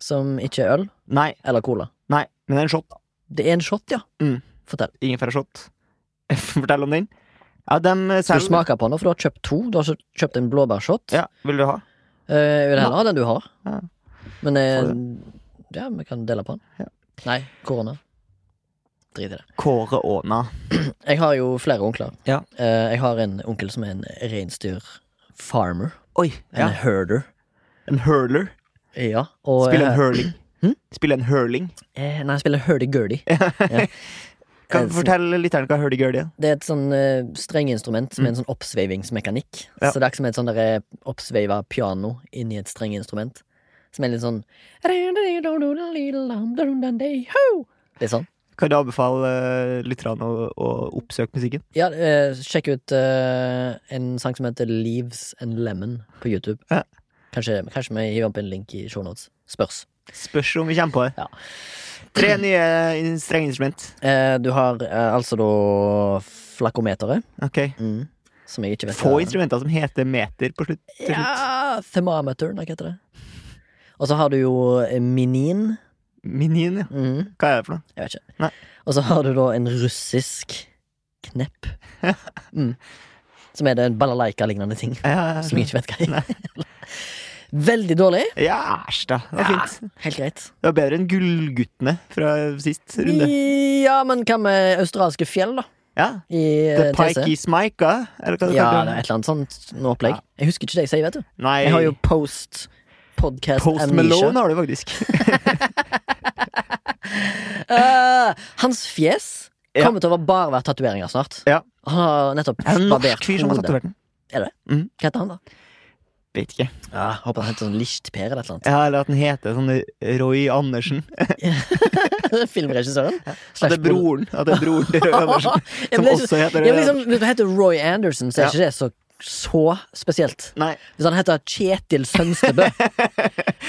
A: som ikke er øl
B: Nei,
A: eller cola.
B: nei, men det er en shot. da.
A: Det er en shot, ja.
B: Mm.
A: Fortell.
B: Ingefærshot. Fortell om den. Ja, dem eh,
A: Du
B: selv
A: smaker på den, nå, for du har kjøpt to. Du har så- kjøpt en blåbærshot.
B: Ja, vil du ha?
A: Eh, jeg vil heller ha den du har.
B: Ja.
A: Men eh,
B: Får
A: ja, vi kan dele på den.
B: Ja.
A: Nei, korona. Drit i det.
B: Kåre Åna.
A: Jeg har jo flere onkler.
B: Ja.
A: Eh, jeg har en onkel som er en reinsdyrfarmer.
B: Oi,
A: En
B: ja.
A: herder.
B: En hurler.
A: Ja, og
B: Spille
A: eh,
B: en hurling.
A: Hm?
B: Spille en hurling.
A: eh, Nei, jeg spiller hurdy-gurdy. ja.
B: Kan
A: Eh,
B: du fortelle lytteren hva hurdy-gurdy er?
A: Det er et sånn eh, strenginstrument med en sånn oppsveivingsmekanikk.
B: Ja.
A: Så det er ikke som et sånn der, eh, oppsveiva piano inni et strenginstrument. Som er litt sånn Det er sånn.
B: Kan du anbefale eh, lytterne å, å oppsøke musikken?
A: Ja, eh, sjekk ut eh, en sang som heter Leaves and Lemon på YouTube.
B: Ja.
A: Kanskje, kanskje vi hiver opp en link i shownotes. Spørs.
B: Spørs om vi kommer på det.
A: Ja.
B: Tre nye in- strengeinstrument.
A: Eh, du har eh, altså da flakometeret,
B: Ok.
A: mm. som jeg ikke vet
B: Få
A: hva-
B: instrumenter som heter meter på slutt. Til slutt.
A: Ja, Thermometeren, hva heter det? Og så har du jo eh, Minin.
B: Minin, ja.
A: Mm.
B: Hva er det for noe?
A: Jeg vet ikke.
B: Nei.
A: Og så har du da en russisk knepp. Mm. Som er det en balalaika-lignende ting.
B: Ja,
A: Som jeg ikke vet hva er. Veldig dårlig.
B: ja, æsj, da. Det var
A: Ja.
B: fint.
A: Helt greit.
B: Det var bedre enn Gullguttene fra sist runde.
A: Ja, men hva med australske fjell, da?
B: Ja.
A: I eh,
B: The Pike
A: TC?
B: is Micah, eller hva det
A: Ja,
B: kaller
A: det er
B: det?
A: et eller annet sånt noe opplegg. Jeg husker ikke det jeg sier, vet du.
B: Nei,
A: Jeg har jo post podcast
B: Post Malone har du faktisk.
A: Eh, hans fjes
B: Ja.
A: kommer til å bare være tatoveringer snart.
B: Ja.
A: Han har nettopp
B: Det er en norsk
A: barbert
B: fyr som har
A: hodet.
B: tatovert den.
A: Hva heter han, da?
B: Vet ikke.
A: Ja, håper han heter sånn Lichtper eller et eller annet.
B: Ja, eller at den heter sånn Roy Andersen.
A: Filmregissøren.
B: At det er broren At det er broren til Roy Andersen,
A: Ja, men
B: som
A: det er
B: også heter
A: Ja, men
B: Roy
A: liksom,
B: Andersen.
A: hvis det heter Roy Anderson, så er
B: Ja.
A: ikke det så, så spesielt.
B: Nei.
A: Hvis han heter Kjetil Sønstebø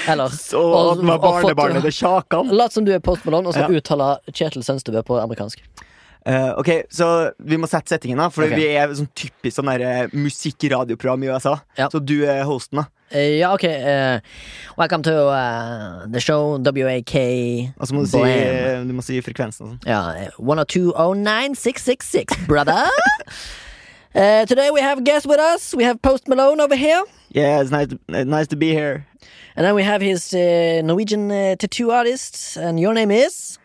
A: Eller
B: Så at den var
A: og fått-
B: barnebarnet til Kjakan.
A: Lat som du er Post Malone, og så
B: Ja.
A: uttale Kjetil Sønstebø på amerikansk.
B: Eh, ok, så vi må sette settingen, da. For
A: Ok.
B: vi er sånn typisk sånn der, eh, musikkradioprogram i USA.
A: Ja.
B: Så du er hosten, da.
A: Eh, ja, OK. eh, welcome to eh, the show WAK
B: Og så må du si, eh,
A: Blam.
B: du må si frekvensen og sånn.
A: Ja, eh, 1020966, brother. Eh, today we have guests with us. We have Post Malone over here.
B: Yeah, it's nice to, eh, nice to be here.
A: And then we have his uh, Norwegian uh, tattoo artist, and your name is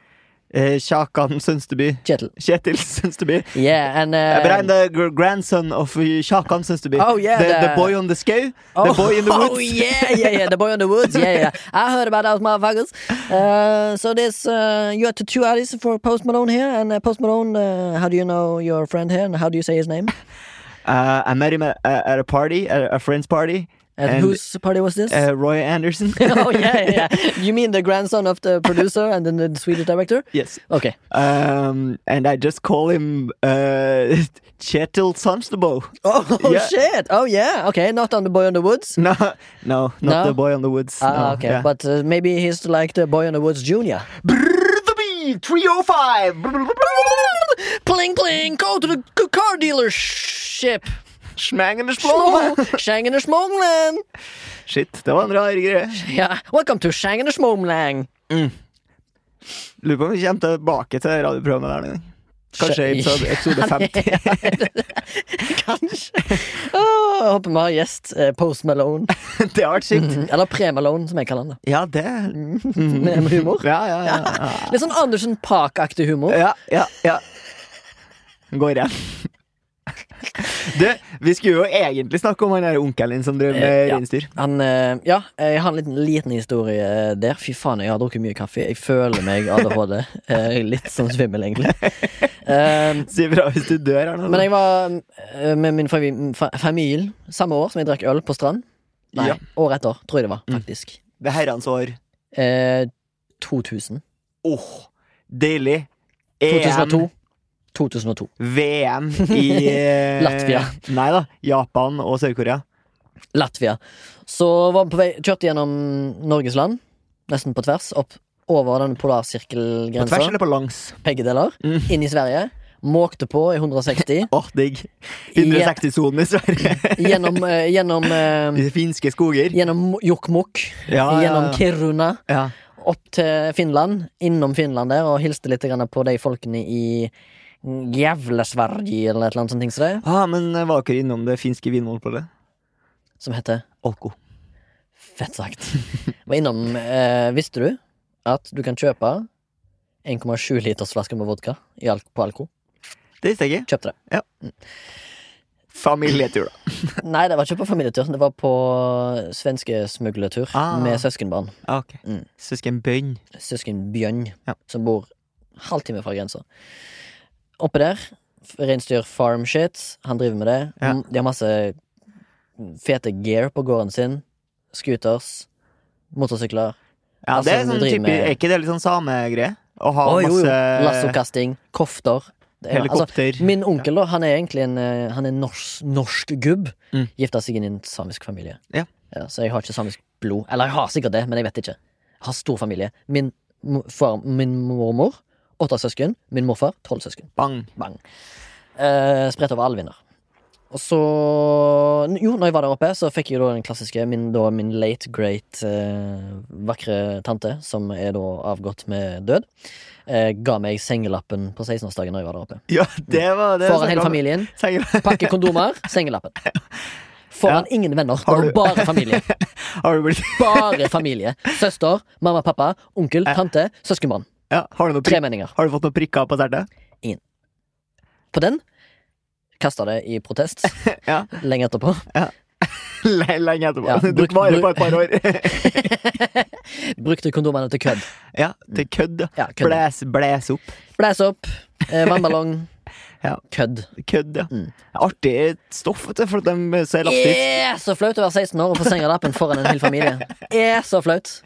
B: Eh, Kjakan Sønsteby.
A: Kjetil.
B: Kjetil Sønsteby.
A: Yeah, and
B: Uh, but I'm
A: uh,
B: the gr- grandson of uh, Kjakan Sønsteby.
A: Oh, yeah,
B: the, the
A: the-
B: boy on the scow.
A: oh,
B: The boy in the woods.
A: Oh yeah, yeah, yeah, the boy in the woods. Yeah, yeah. I heard about those motherfuckers. Uh, so this, uh, you are tattoo artist for Post Malone here, and uh, Post Malone. Uh, how do you know your friend here, and how do you say his name?
B: Uh, I met him at, at at a party, at a friend's party.
A: And, whose party was this?
B: Uh, Roy Anderson.
A: oh yeah, yeah, yeah. You mean the grandson of the producer and then the Swedish director?
B: yes.
A: Okay.
B: Um, and I just call him uh, Kjetil Sønstebo.
A: Oh,
B: Yeah.
A: shit. Oh yeah. Okay, not on the boy in the woods.
B: No, no,
A: No?
B: not the boy on the woods.
A: Ah,
B: no,
A: okay,
B: yeah.
A: but uh, maybe he's like the boy in the woods junior.
B: Brrr, the bee, 305.
A: Pling pling, go to the c- car dealership.
B: Smangende
A: Schmong, Schengen Schmongland.
B: Shit, det var en rar greie.
A: Yeah, welcome to Schengen Schmongland.
B: Lurer på om vi kommer tilbake til radioprogrammet der en gang. Kanskje i episode, episode 50.
A: Kanskje. Åh, Oh, jeg håper vi har gjest eh, Post Malone.
B: det har vært sykt.
A: Mm, Eller Pre-Malone, som jeg kaller han. da.
B: Ja, det
A: Med humor.
B: Ja, ja, ja.
A: Litt sånn Andersen Park-aktig humor.
B: Ja, ja, ja. Går igjen. Du, vi skulle jo egentlig snakke om han der onkelen din som drev
A: Eh,
B: med
A: ja.
B: reinsdyr.
A: Han, eh, ja, jeg har en liten, liten historie eh, der. Fy faen, jeg har drukket mye kaffe. Jeg føler meg ADHD. Eh, litt som svimmel, egentlig. Eh,
B: Si fra hvis du dør her nå.
A: men jeg var eh, med min fami- fa- familie samme år som jeg drakk øl på strand. Nei,
B: Ja. Mm.
A: året etter, tror jeg det var, faktisk.
B: Det er herrens år.
A: Eh, 2000.
B: Åh, deilig. EM,
A: 2002. 2002.
B: VM i eh,
A: Latvia.
B: Nei da. Japan og Sør-Korea.
A: Latvia. Så var vi på vei, kjørte gjennom Norges land, nesten på tvers, opp over den
B: På tvers
A: polarsirkelgrensa.
B: eller på langs?
A: Begge deler.
B: Mm.
A: Inn i Sverige. Måkte på i 160.
B: Åh, digg. 160-sonen i Sverige.
A: Gjennom, eh, gjennom eh,
B: I finske skoger.
A: Gjennom Jokkmokk,
B: Ah, Ja,
A: gjennom Kiruna,
B: ja.
A: opp til Finland. Innom Finland der og hilste litt grann på de folkene i Gävlesverige eller et eller annet sånt ting som det,
B: Ah, men var dere innom det finske vinmonopolet?
A: som heter
B: Alko.
A: Fett sagt. Var innom eh, Visste du at du kan kjøpe 1,7 liters flasker med vodka i al på Alko?
B: Det visste jeg ikke.
A: Kjøpte det.
B: Familietur, da.
A: Nei, det var ikke på familietur. Det var på svenskesmugletur
B: Ah.
A: med søskenbarn.
B: Ah, ok.
A: Mm.
B: Søskenbønn.
A: Søsken Bjørn,
B: Ja.
A: som bor halvtime fra grensa. Oppe der, f- reinsdyr farm shit. Han driver med det.
B: Ja.
A: Mm, De har masse fete gear på gården sin. Scooters. Motorsykler.
B: Ja,
A: Altså,
B: det er
A: du
B: sånn
A: driver
B: type,
A: med-
B: er ikke det litt sånn samegreie? Å ha
A: Å, jo, jo.
B: masse
A: Lassokasting. Kofter. Det er- altså,
B: helikopter
A: Min onkel da, han er egentlig en eh, Han er norsk, norsk gubb.
B: Mm.
A: Gifta seg inn i en samisk familie.
B: Ja.
A: så jeg har ikke samisk blod. Eller jeg har sikkert det, men jeg vet ikke. Jeg har stor familie. Min, mo- far, min mormor, åtte søsken. Min morfar, tolv søsken.
B: Bang.
A: Bang. Eh, spredt over all vinder. Og så Jo, når jeg var der oppe, så fikk jeg da den klassiske min, da, min late great eh, vakre tante, som er da avgått med død, eh, ga meg sengelappen på 16-årsdagen når jeg var der oppe.
B: Ja, det var det.
A: Foran hele familien.
B: familien.
A: Pakke kondomer, sengelappen. Foran ingen venner,
B: Har du-
A: det var bare familie.
B: Har du blitt
A: Bare familie. Søster, mamma, pappa, onkel, tante, søskenbarn.
B: ja, har, du noen pri-
A: Tremenninger.
B: har du fått noen prikker på tertet?
A: På den kasta det i protest
B: Ja.
A: lenge etterpå.
B: Le- Lenge etterpå.
A: Ja,
B: Du
A: bruk-
B: Tok vare
A: bruk-
B: på et par år.
A: Brukte kondomene til kødd.
B: ja, til kødd.
A: Ja, kødd.
B: Blæs, blæs opp.
A: Blæs opp, eh, vannballong,
B: Ja.
A: kødd.
B: Kødd, ja.
A: Mm. Eh,
B: Artig stoff, vet du, for at de ser lagt ut.
A: Er så flaut å være 16 år og få sengelappen foran en hel familie. Er så flaut.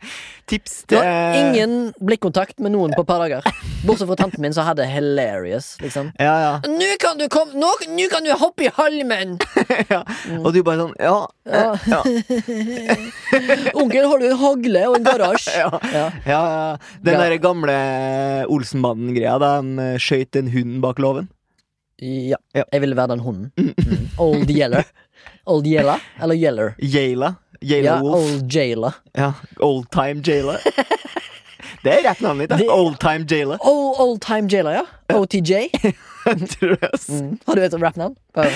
B: Tips
A: Det
B: til
A: var ingen blikkontakt med noen på et par dager. Bortsett fra tanten min, som hadde hilarious, liksom.
B: Ja, ja.
A: Nå kan du komme Nå, nå kan du hoppe i halmen!
B: ja.
A: Mm.
B: Og du bare sånn Ja.
A: Ja.
B: Ja.
A: Onkel har du en hagle og en garasje.
B: ja.
A: Ja.
B: Ja, ja. Den
A: Ja.
B: der gamle Olsenbanden-greia, da de skøyt en hund bak låven.
A: ja.
B: Ja.
A: Jeg ville være den hunden. Mm. Old Yeller. Old Yeller eller Yeller?
B: Jayla. Jayla
A: Ja,
B: Wolf.
A: Old Jailer.
B: Ja, Old Time Jayla. Det er rett navn mitt, da.
A: Det-
B: Old Time Jayla.
A: Oh, old Time Jailer, ja. OTJ.
B: Tror jeg, ass.
A: Mm. Har du et rappnavn? Bare-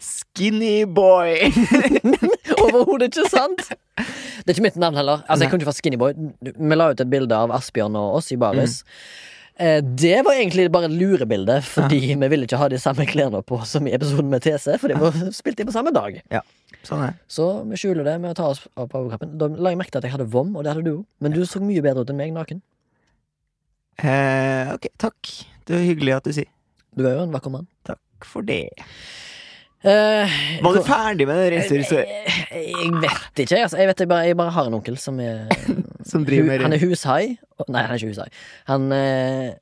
B: Skinny boy.
A: Overhodet ikke sant! Det er ikke mitt navn heller. Altså, jeg kunne ikke vært Skinnyboy. Vi la ut et bilde av Asbjørn og oss i baris. Eh, Det var egentlig bare et lurebilde, fordi vi ville ikke ha de samme klærne på som i episoden med TC, for det var spilt inn på samme dag.
B: Sånn er det.
A: Så vi skjuler det med å ta oss av på overkroppen. Da la jeg merke til at jeg hadde vom, og det hadde du òg, men du så mye bedre ut enn meg naken.
B: Eh, ok, takk. Det var hyggelig at du sier.
A: Du er jo en vakker mann.
B: Takk for det.
A: Eh,
B: Var du
A: hvor-
B: ferdig med den
A: jeg,
B: reiseturen
A: jeg vet ikke, altså. Jeg, vet, jeg, bare, jeg bare har en onkel som er
B: som driver
A: Hu- Han
B: med
A: er hushai. og- Nei, han er ikke hushai. Han eh,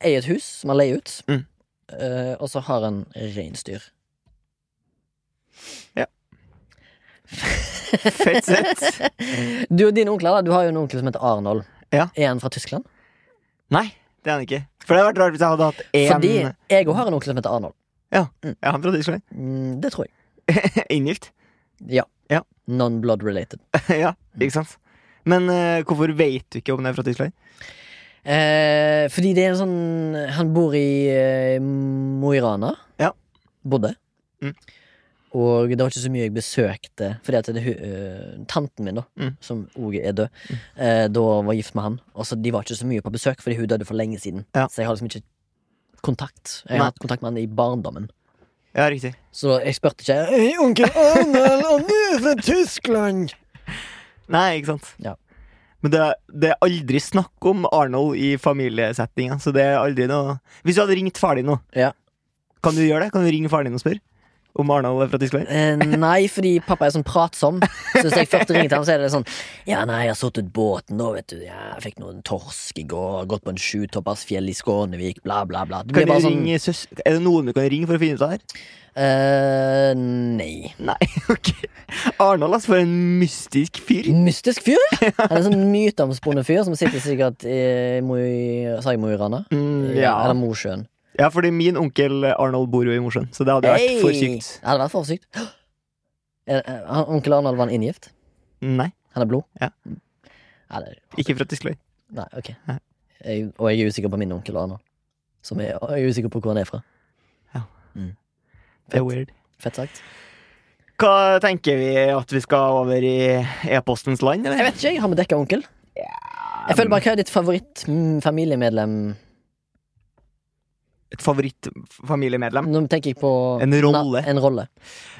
A: eier et hus som han leier ut.
B: Mm.
A: Eh, og så har han reinsdyr.
B: Fett sett.
A: Du og dine onkler, da. Du har jo en onkel som heter Arnold.
B: Ja.
A: Er han fra Tyskland?
B: Nei, det er han ikke. For det hadde vært rart hvis jeg hadde hatt én
A: Fordi jeg òg har en onkel som heter Arnold.
B: Ja, han fra Tyskland.
A: Mm, det tror jeg.
B: Inngift.
A: Ja.
B: Ja.
A: Non-blood related.
B: ja, ikke sant? Men eh, hvorfor vet du ikke om den er fra Tyskland?
A: Eh, fordi det er en sånn Han bor i eh, Mo i Rana.
B: Ja.
A: Bodde.
B: Mm.
A: Og det var ikke så mye jeg besøkte, fordi at det, hu- eh, tanten min, da,
B: Mm.
A: som òg er død, eh, da var gift med han. Og så De var ikke så mye på besøk, fordi hun døde for lenge siden.
B: Ja.
A: Så jeg har liksom ikke kontakt. Jeg
B: Nei.
A: har hatt kontakt med han i barndommen.
B: Ja, riktig.
A: Så jeg spurte ikke «Hei, onkel Arnold, om du er fra Tyskland.
B: Nei, ikke sant?
A: Ja.
B: Men det, det er aldri snakk om Arnold i familiesettinga, så det er aldri noe Hvis du hadde ringt faren din nå,
A: Ja.
B: kan du gjøre det? Kan du ringe faren din og spørre om Arnold er fra Tyskland?
A: Eh, nei, fordi pappa er sånn pratsom. Så hvis jeg først ringer til ham, så er det sånn Ja, nei, jeg har satt ut båten, da, vet du. Ja, jeg fikk noen torsk i går. Gått på en sjutoppers fjell i Skånevik, bla, bla, bla. Det
B: Kan
A: blir
B: du
A: bare sånn
B: ringe søs Er det noen du kan ringe for å finne ut av det her?
A: eh, Nei.
B: Nei, ok. Arnold, altså, for en mystisk fyr.
A: Mystisk fyr! Han er en sånn myteomspunnet fyr som sitter sikkert i Mo i Sa jeg Mo i Rana?
B: Mm,
A: Eller
B: ja.
A: Mosjøen.
B: ja, fordi min onkel Arnold bor jo i Mosjøen, så det hadde vært
A: Hey!
B: for sykt.
A: Det hadde vært for sykt. Er- er- han- Onkel Arnold var en inngift.
B: Nei,
A: Han er blod.
B: Ja.
A: Mm. Ja, det er
B: ikke fra Tyskland.
A: Nei, ok
B: Nei.
A: jeg, Og jeg er usikker på min onkel Arne Som er, og jeg er usikker på hvor han er fra
B: Det
A: Fett.
B: er weird.
A: Fett sagt
B: Hva tenker vi at vi skal over i e-postens land,
A: Jeg
B: eller?
A: vet ikke, jeg har med dekka onkel Jeg føler bare, hva er ditt favoritt mm, familiemedlem?
B: Et favorittfamiliemedlem?
A: Nå tenker jeg på
B: En rolle.
A: na, En rolle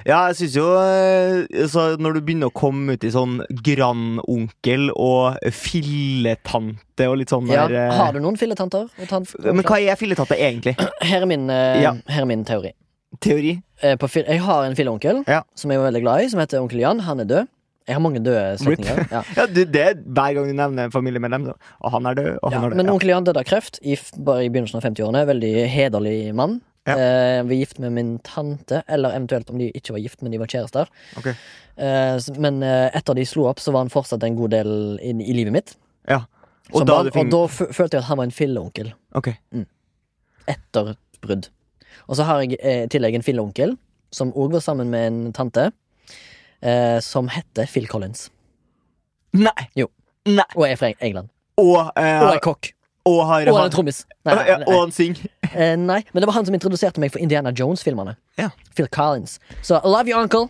B: Ja, jeg syns jo eh, så Når du begynner å komme ut i sånn grandonkel og filletante og litt sånn
A: ja,
B: der eh,
A: Har du noen filletanter? og tant-
B: Men hva er filletante egentlig?
A: Her er min, eh,
B: Ja.
A: her er min teori
B: Teori?
A: Eh, på, fil- Jeg har en filleonkel
B: Ja.
A: Som jeg var veldig glad i Som heter onkel Jan, han er død Jeg har mange døde slektninger ja.
B: Ja, du, det er hver gang du nevner familiemedlem. så, Og han er død, og
A: Ja,
B: han er død.
A: men onkel Jan døde av kreft i, f- bare i begynnelsen av 50-årene. Veldig hederlig mann.
B: Ja.
A: Eh, var gift med min tante, eller eventuelt om de ikke var gift, men de var kjærester.
B: Ok.
A: Eh, s- men eh, etter de slo opp, så var han fortsatt en god del i, i livet mitt.
B: Ja. Og,
A: Som
B: da
A: barn,
B: er det fin...
A: og da f følte jeg at han var en filleonkel
B: Ok.
A: etter brudd. Og så har jeg eh, i tillegg en filleonkel som òg var sammen med en tante, eh, som heter Phil Collins.
B: Nei!
A: Jo.
B: Nei.
A: Og er fra Eng- England.
B: Og,
A: Og
B: eh,
A: er kokk.
B: og har
A: Og han
B: han-
A: er trommis. Nei,
B: Ja,
A: nei,
B: ja,
A: nei.
B: Og han synger.
A: Eh, nei, men det var han som introduserte meg for Indiana Jones-filmene.
B: Ja.
A: Phil Collins. Så I love you, uncle.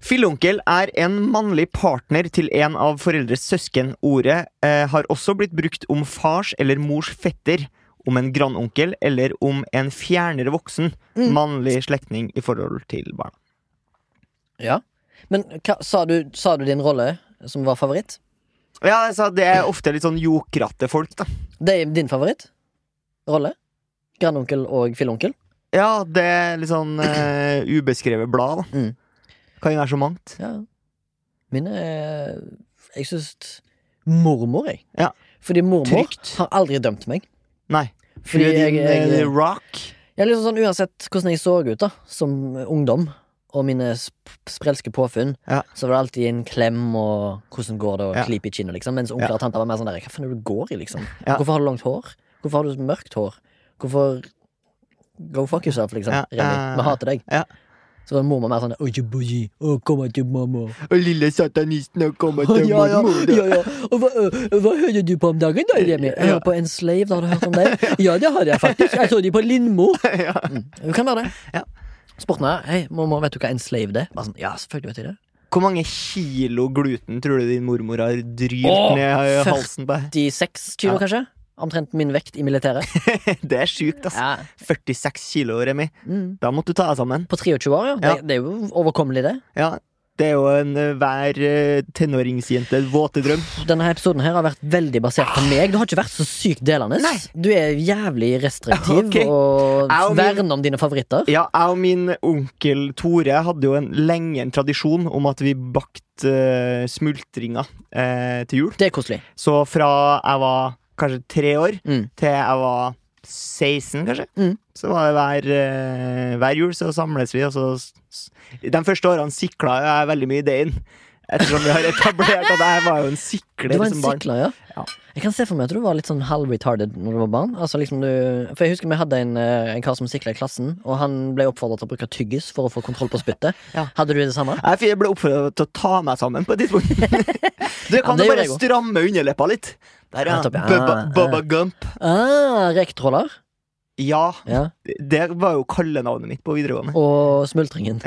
B: Fillonkel er en mannlig partner til en av foreldres søsken. Ordet eh, har også blitt brukt om fars eller mors fetter, om en grandonkel eller om en fjernere voksen
A: Mm.
B: mannlig slektning i forhold til barna.
A: Ja. Men hva, sa, du, sa du din rolle som var favoritt?
B: Ja, altså, Det er ofte litt sånn jokrate folk, da.
A: Det er din favoritt? Rolle? Grandonkel og fillonkel?
B: Ja, det er litt sånn eh, ubeskrevet blad, da.
A: Mm.
B: Kan jo være så mangt.
A: Ja. Mine er Jeg syns mormor, jeg.
B: Ja.
A: Fordi mormor
B: Trygt.
A: har aldri dømt meg.
B: Nei.
A: Fordi
B: Fordi
A: jeg,
B: din eh,
A: jeg, eh,
B: egen rock.
A: jeg er liksom sånn Uansett hvordan jeg så ut da som ungdom, og mine sp sprelske påfunn,
B: Ja.
A: så var det alltid en klem og 'hvordan går det', og
B: Ja.
A: klype i kinnet, liksom. Mens onkler og tanter var mer sånn der 'hva faen er det du går i', liksom.
B: Ja.
A: Hvorfor har du langt hår? Hvorfor har du mørkt hår? Hvorfor Go fuck yourself, liksom.
B: Ja,
A: Remi,
B: ja,
A: vi hater deg.
B: ja.
A: Så var mormor mer sånn 'Å, ikke boji. Å, kom her til mamma'.
B: Og lille satanisten har kommet
A: Å,
B: til
A: ja, ja,
B: mormor.
A: ja, ja. Og hva, ø, hva hører du på om dagen, da, Remi? Jeg hører på en slave, da har du hørt om det? Ja, det har jeg faktisk. Jeg så de på Lindmo. Mm. Du kan være det.
B: Ja.
A: Sporten er Hei, mamma, vet du hva en slave det er? Bare sånn, ja, selvfølgelig vet jeg det.
B: Hvor mange kilo gluten tror du din mormor har drylt
A: Åh,
B: ned
A: 40.
B: i halsen på deg?
A: 96 kilo, kanskje? Omtrent min vekt i militæret.
B: Det er sjukt, ass.
A: Ja.
B: 46 kilo, Remi.
A: Mm.
B: Da måtte du ta deg sammen.
A: På 23 år, ja.
B: Ja.
A: Det, det er jo overkommelig, det.
B: Ja, det er jo en eh, hver eh, tenåringsjentes våte drøm.
A: Denne her episoden her har vært veldig basert på meg. Du har ikke vært så sykt delende.
B: Nei.
A: Du er jævlig restriktiv
B: Ok.
A: og
B: Jeg og min-
A: verner om dine favoritter.
B: Ja, jeg og min onkel Tore hadde jo en, lenge en tradisjon om at vi bakte eh, smultringer eh, til jul.
A: Det er koselig.
B: Så fra jeg var kanskje tre år
A: Mm.
B: til jeg var 16, kanskje,
A: Mm.
B: så var det hver, eh, hver jul så samles vi. Og så, s- s- de første årene sikla jeg veldig mye i deigen. Ettersom vi har etablert at jeg var jo en
A: Du
B: sikler
A: var en
B: som barn.
A: sikler, ja.
B: Ja.
A: Jeg kan se for meg at du var litt sånn halv-retarded når du var barn. Altså liksom du, for jeg husker Vi hadde en, eh, en kar som sikla i klassen, og han ble oppfordret til å bruke tyggis for å få kontroll på spyttet.
B: Ja.
A: Hadde du det samme?
B: Jeg fikk- ble oppfordra til å ta meg sammen på et tidspunkt. Du kan
A: det
B: jo
A: gjorde
B: bare
A: jeg også.
B: stramme underleppa litt. Der, ja.
A: Ja, topp, ja.
B: Bubba, Bubba Gump.
A: Ah, Rektråler.
B: Ja,
A: Ja.
B: det var jo kallenavnet mitt på videregående.
A: Og smultringen.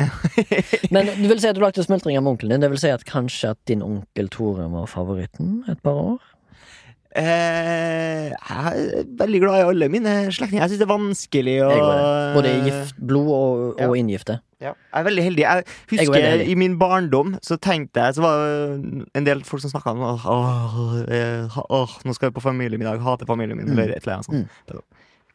A: Men du vil si at du lagde smultringer med onkelen din? Det vil si at kanskje at din onkel Tore var favoritten et par år?
B: Eh, jeg er veldig glad i alle mine slektninger. Jeg syns det er vanskelig å eh,
A: Jeg går det. Både i gift, blod og, og inngifte.
B: Ja. Jeg er veldig heldig. Jeg
A: Jeg er
B: husker
A: veldig heldig.
B: I min barndom så tenkte jeg Så var det en del folk som snakka om åh, åh, eh, ha- åh, nå skal jeg på familiemiddag, hater familien
A: Mm.
B: min, eller et eller annet sånt.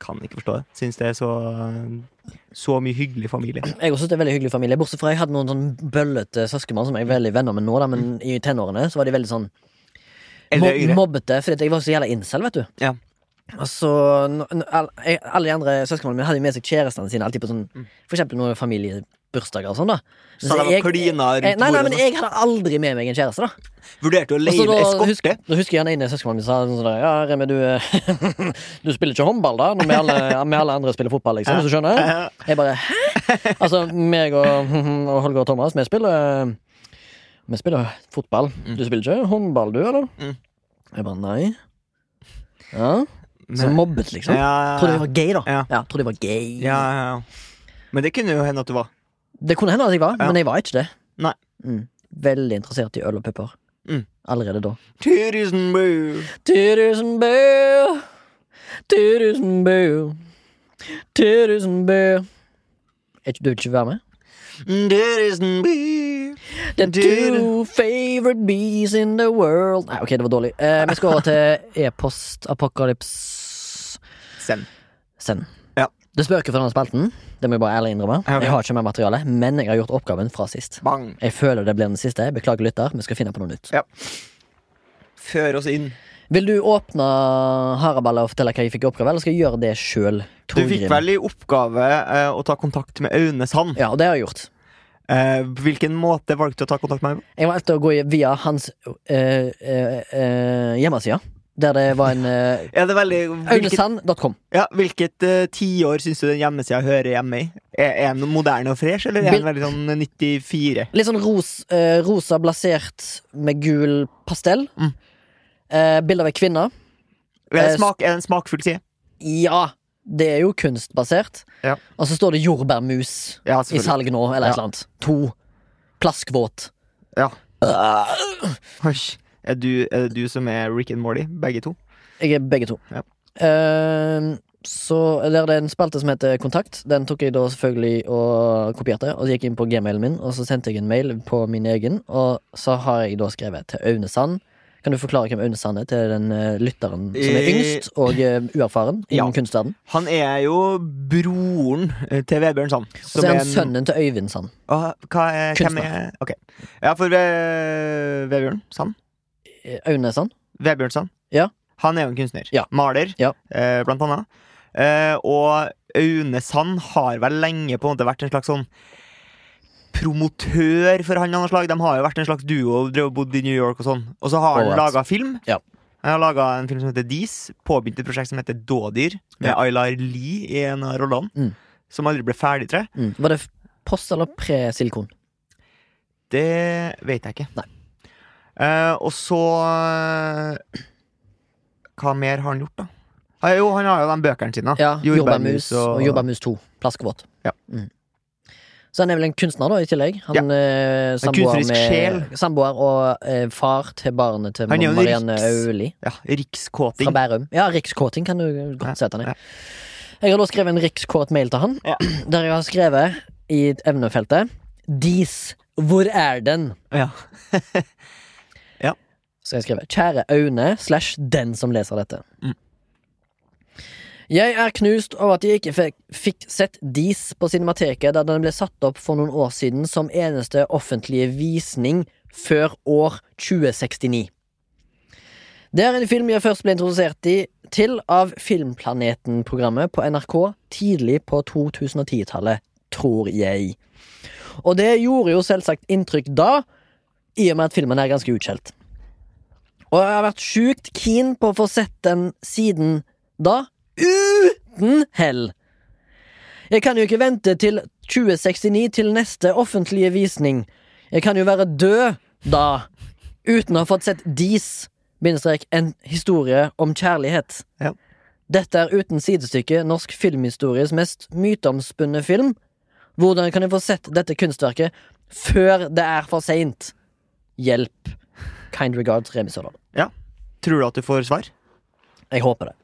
B: Kan ikke forstå det. Syns det er så Så mye hyggelig familie.
A: Jeg også synes det er veldig hyggelig familie Bortsett fra jeg hadde noen sånn bøllete søskenbarn som jeg er veldig venner med nå, da,
B: Mm.
A: men i tenårene så var de veldig sånn
B: Eller
A: Mob
B: yngre.
A: mobbete, fordi at jeg var så jævla incel, vet du.
B: Ja.
A: Og så n- n- all- jeg- Alle de andre søskenbarna mine hadde jo med seg kjærestene sine alltid på sånn For eksempel noen familiebursdager og sånn, da.
B: Så de var klina rundt
A: jeg, Eh, Nei, nei,
B: bordet,
A: men
B: da.
A: jeg hadde aldri med meg en kjæreste, da.
B: Vurderte å
A: Og så
B: leie
A: da, husk,
B: eskorte.
A: da husker jeg han ene søskenbarnet mitt sa sånn sånn der, Ja, Remi, du, eh, du spiller ikke håndball, da, når vi alle, vi alle andre spiller fotball, liksom, hvis du skjønner?
B: Ja.
A: Jeg bare Hæ? Altså, meg og, og Holger og Thomas, vi spiller Vi spiller fotball. Du spiller ikke håndball, du, eller?
B: Mm.
A: Jeg bare nei. Ja. Så
B: Men-
A: mobbet, liksom.
B: Ja,
A: Trodde jeg var gay, da. Ja,
B: Ja.
A: trodde jeg var gay.
B: ja, ja, ja. Men det kunne jo hende at du var.
A: Det kunne hende at jeg var,
B: Ja.
A: men jeg var ikke det.
B: Nei.
A: Mm. Veldig interessert i øl og pepper.
B: Mm.
A: Allerede da.
B: Tusen bu!
A: Turusenbu, Turusenbu, Turusenbu. Er ikke du ikke være med?
B: Tusen bu!
A: The two favorite bees in the world Nei, ok, det var dårlig. Eh, vi skal over til e-post apocalypse
B: Send.
A: send.
B: Ja.
A: Det spøker for denne spalten. Det må jeg bare ærlig innrømme.
B: Ja, ok.
A: Jeg har ikke mer materiale, men jeg har gjort oppgaven fra sist.
B: Bang.
A: Jeg føler det blir den siste. Beklager, lytter. Vi skal finne på noe nytt.
B: Ja. Før oss inn.
A: Vil du åpne haraballet og fortelle hva jeg fikk i oppgave, eller skal jeg gjøre det sjøl?
B: Du fikk vel i oppgave eh, å ta kontakt med Aune Sand.
A: Ja, og det har jeg gjort.
B: Eh, hvilken måte valgte du å ta kontakt med meg på?
A: Jeg valgte å gå i- via hans eh, eh, eh, hjemmeside, der det var en eh,
B: Er det veldig, hvilket
A: Auglesand.com.
B: ja, hvilket eh, tiår syns du den hjemmesida hører hjemme i? Er er den moderne og fresh, eller er den veldig sånn 94?
A: Litt sånn ros, eh, rosa blasert med gul pastell.
B: Mm.
A: Eh, bilde av ei kvinne.
B: Er det,
A: Eh,
B: en smak, er det en smakfull side?
A: Ja, det er jo kunstbasert.
B: Ja.
A: Og så står det jordbærmus i
B: Ja, selvfølgelig.
A: salg nå, eller et
B: Ja.
A: eller annet. To. Plaskvåt.
B: Ja. Oi. Er, du, er det du som er Rick and Morty? Begge to?
A: Jeg er begge to.
B: Ja.
A: Eh, så der er det en spalte som heter Kontakt. Den tok jeg da selvfølgelig og kopierte. Og så gikk jeg inn på gmailen min, og så sendte jeg en mail på min egen. Og så har jeg da skrevet til Aune Sand. Kan du forklare hvem Aune Sand er til den eh, lytteren som er
B: Eh,
A: yngst og eh, uerfaren innen
B: ja.
A: kunstverden?
B: Han er jo broren eh, til Vebjørn Sand.
A: Og så er han sønnen til Øyvind Sand.
B: Åh, hva er, hvem
A: Kunstner.
B: er Ok. Ja, for eh, Vebjørn Sand.
A: Eh, Aune Sand.
B: Vebjørn Sand.
A: Ja.
B: Han er jo en kunstner.
A: Ja.
B: Maler,
A: Ja.
B: eh, blant annet. Eh, og Aune Sand har vel lenge på en måte vært en slags sånn promotør for han av noe slag. De har jo vært en slags duo og drev og bodd i New York og sånn. Og så har han
A: Alright.
B: laga film.
A: Ja.
B: Han har laga en film som heter Dis. Påbegynt et prosjekt som heter Dådyr, med Aylar Lie i en av rollene.
A: Mm.
B: Som aldri ble ferdig, tror jeg.
A: Mm. Var det f- post eller pre-silikon?
B: Det vet jeg ikke.
A: Nei.
B: Eh, og så eh, Hva mer har han gjort, da? Ah, jo, han har jo de bøkene sine.
A: Ja, Jordbærmus og, Jordbærmus 2. Plaskevåt.
B: Ja.
A: Mm. Så han er vel en kunstner, da, i tillegg. Han er samboer,
B: kunstnerisk
A: med,
B: sjel.
A: samboer og eh, far til barnet til
B: Han er jo en
A: Marianne
B: riks-
A: Auli
B: Ja,
A: fra
B: Rikskåting.
A: Bærum. Ja, rikskåting kan du godt
B: Ja,
A: sette ned.
B: ja.
A: Jeg har da skrevet en rikskåt mail til han,
B: Ja.
A: der jeg har skrevet i emnefeltet Dis, hvor er den?
B: Ja.
A: Så jeg skrev Kjære Aune slash den som leser dette.
B: Mm.
A: Jeg er knust over at jeg ikke fikk, fikk sett Dis på Cinemateket da den ble satt opp for noen år siden som eneste offentlige visning før år 2069. Det er en film jeg først ble introdusert i, til av Filmplaneten-programmet på NRK tidlig på 2010-tallet, tror jeg. Og det gjorde jo selvsagt inntrykk da, i og med at filmen er ganske utskjelt. Og jeg har vært sjukt keen på å få sett den siden da, uten hell. Jeg kan jo ikke vente til 2069 til neste offentlige visning. Jeg kan jo være død da, uten å ha fått sett Dis, bindestrek, en historie om kjærlighet.
B: Ja.
A: Dette er uten sidestykke norsk filmhistories mest myteomspunne film. Hvordan kan jeg få sett dette kunstverket før det er for seint? Hjelp. Kind regards Remi Sørdal.
B: Tror du at du får svar?
A: Jeg håper det.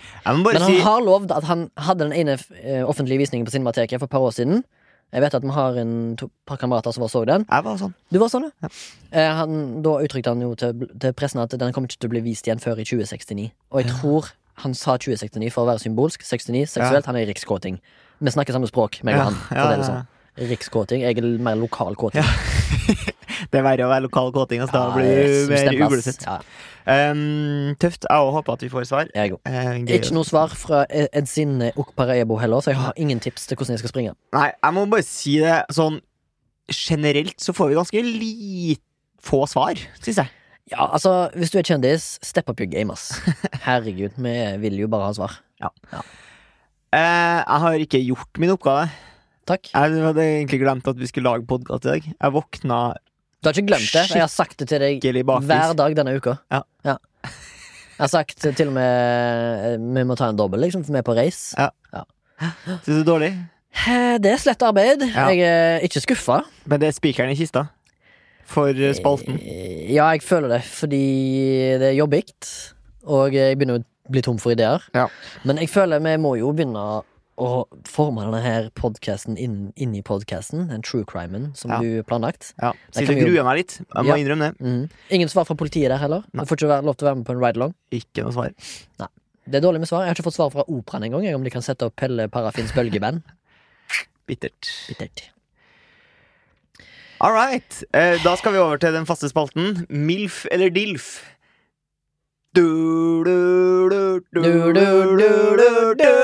B: Jeg må bare
A: Men han
B: si
A: har lovd at han hadde den ene eh, offentlige visningen på Cinemateket for et par år siden. Jeg vet at vi har en to, par kamerater som var og så den.
B: Jeg var sånn.
A: Du var sånn, ja. Eh, han, da uttrykte han jo til, til pressen at den kommer ikke til å bli vist igjen før i 2069. Og jeg tror han sa 2069 for å være symbolsk. 69 seksuelt. Han er i rikskåting. Vi snakker samme språk, meg og
B: Ja,
A: han. For
B: ja,
A: det er det
B: ja, ja.
A: sånn. Rikskåting. Jeg er mer lokal kåting.
B: Det er verre å være lokal kåting. Altså, da
A: Ja, jeg
B: blir du mer
A: Eh, stemmer, ass.
B: uglesett.
A: Ja,
B: Um, tøft. Jeg òg håper at vi får svar.
A: jeg er god.
B: Eh, gøy.
A: Ikke noe svar fra Edsinne Okparebo heller, så jeg har ingen tips til hvordan jeg skal springe.
B: Nei, jeg må bare si det sånn Generelt så får vi ganske li... få svar, syns jeg.
A: Ja, altså, Hvis du er kjendis, step up your game, ass. Herregud, vi vil jo bare ha svar.
B: Eh, jeg har ikke gjort min oppgave.
A: Takk.
B: Jeg hadde egentlig glemt at vi skulle lage podkast i dag. Jeg våkna
A: Du har ikke glemt det. Jeg har sagt det til deg
B: skikkelig
A: hver
B: bakfis.
A: dag denne uka.
B: Ja.
A: Jeg har sagt til og med eh, vi må ta en dobbel, liksom, for vi er på reis.
B: Ja. Synes det er dårlig.
A: Eh, Det er slett arbeid.
B: Ja.
A: Jeg er ikke skuffa.
B: Men det er spikeren i kista for eh, spalten.
A: Eh, Ja, jeg føler det, fordi det er jobbigt, og jeg begynner å bli tom for ideer.
B: Ja.
A: Men jeg føler vi må jo begynne å forme denne her podkasten inn, inn i podkasten, den true crimen som
B: Ja.
A: du planlagt.
B: Ja. Så
A: kan
B: det
A: vi jo-
B: gruer meg litt. Jeg må
A: Ja.
B: innrømme det.
A: Mhm. Ingen svar fra politiet der heller. Du
B: Nei.
A: får ikke være, lov til å være med på en ride-along.
B: Ikke noe svar.
A: Det er dårlig med svar. Jeg har ikke fått svar fra operaen engang, jeg, om de kan sette opp Pelle Parafins bølgeband.
B: Bittert.
A: Bittert.
B: All right. Eh, da skal vi over til den faste spalten. MILF eller DILF? Du, du, du, du,
A: Du, du, du, du, du.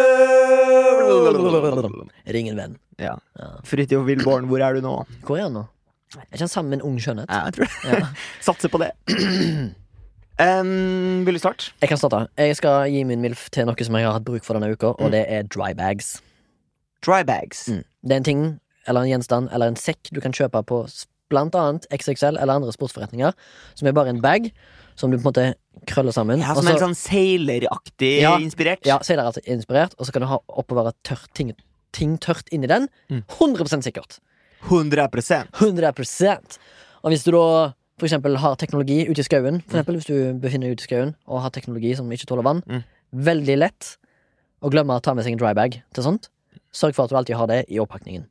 A: Ring en venn.
B: Ja.
A: Ja.
B: Fridtjof Wilborn, hvor er du nå?
A: Hvor er han nå? Er ikke han sammen med en ung skjønnhet?
B: Ja, Jeg tror det.
A: Ja.
B: Satser på det. Em, vil du starte?
A: Jeg
B: Mm.
A: kan starte. Jeg skal gi min MILF til noe som jeg har hatt bruk for denne uka, og det er dry bags.
B: drybags.
A: Mm. Det er en ting, eller en gjenstand, eller en sekk du kan kjøpe på s- blant annet XXL eller andre sportsforretninger, som er bare en bag som du på en måte krøller sammen.
B: Ja,
A: og
B: som en
A: så-
B: sånn seileraktig
A: Ja.
B: inspirert.
A: Ja, så er det altså inspirert, og så kan du ha oppbevare tørt ting, ting tørt inni den.
B: Mm.
A: 100 sikkert.
B: 100
A: 100 Og hvis du da for eksempel har teknologi ute i skauen, for eksempel hvis du befinner deg ute i skauen og har teknologi som ikke tåler vann,
B: Mm.
A: veldig lett å glemme å ta med seg en drybag til sånt. Sørg for at du alltid har det i oppakningen.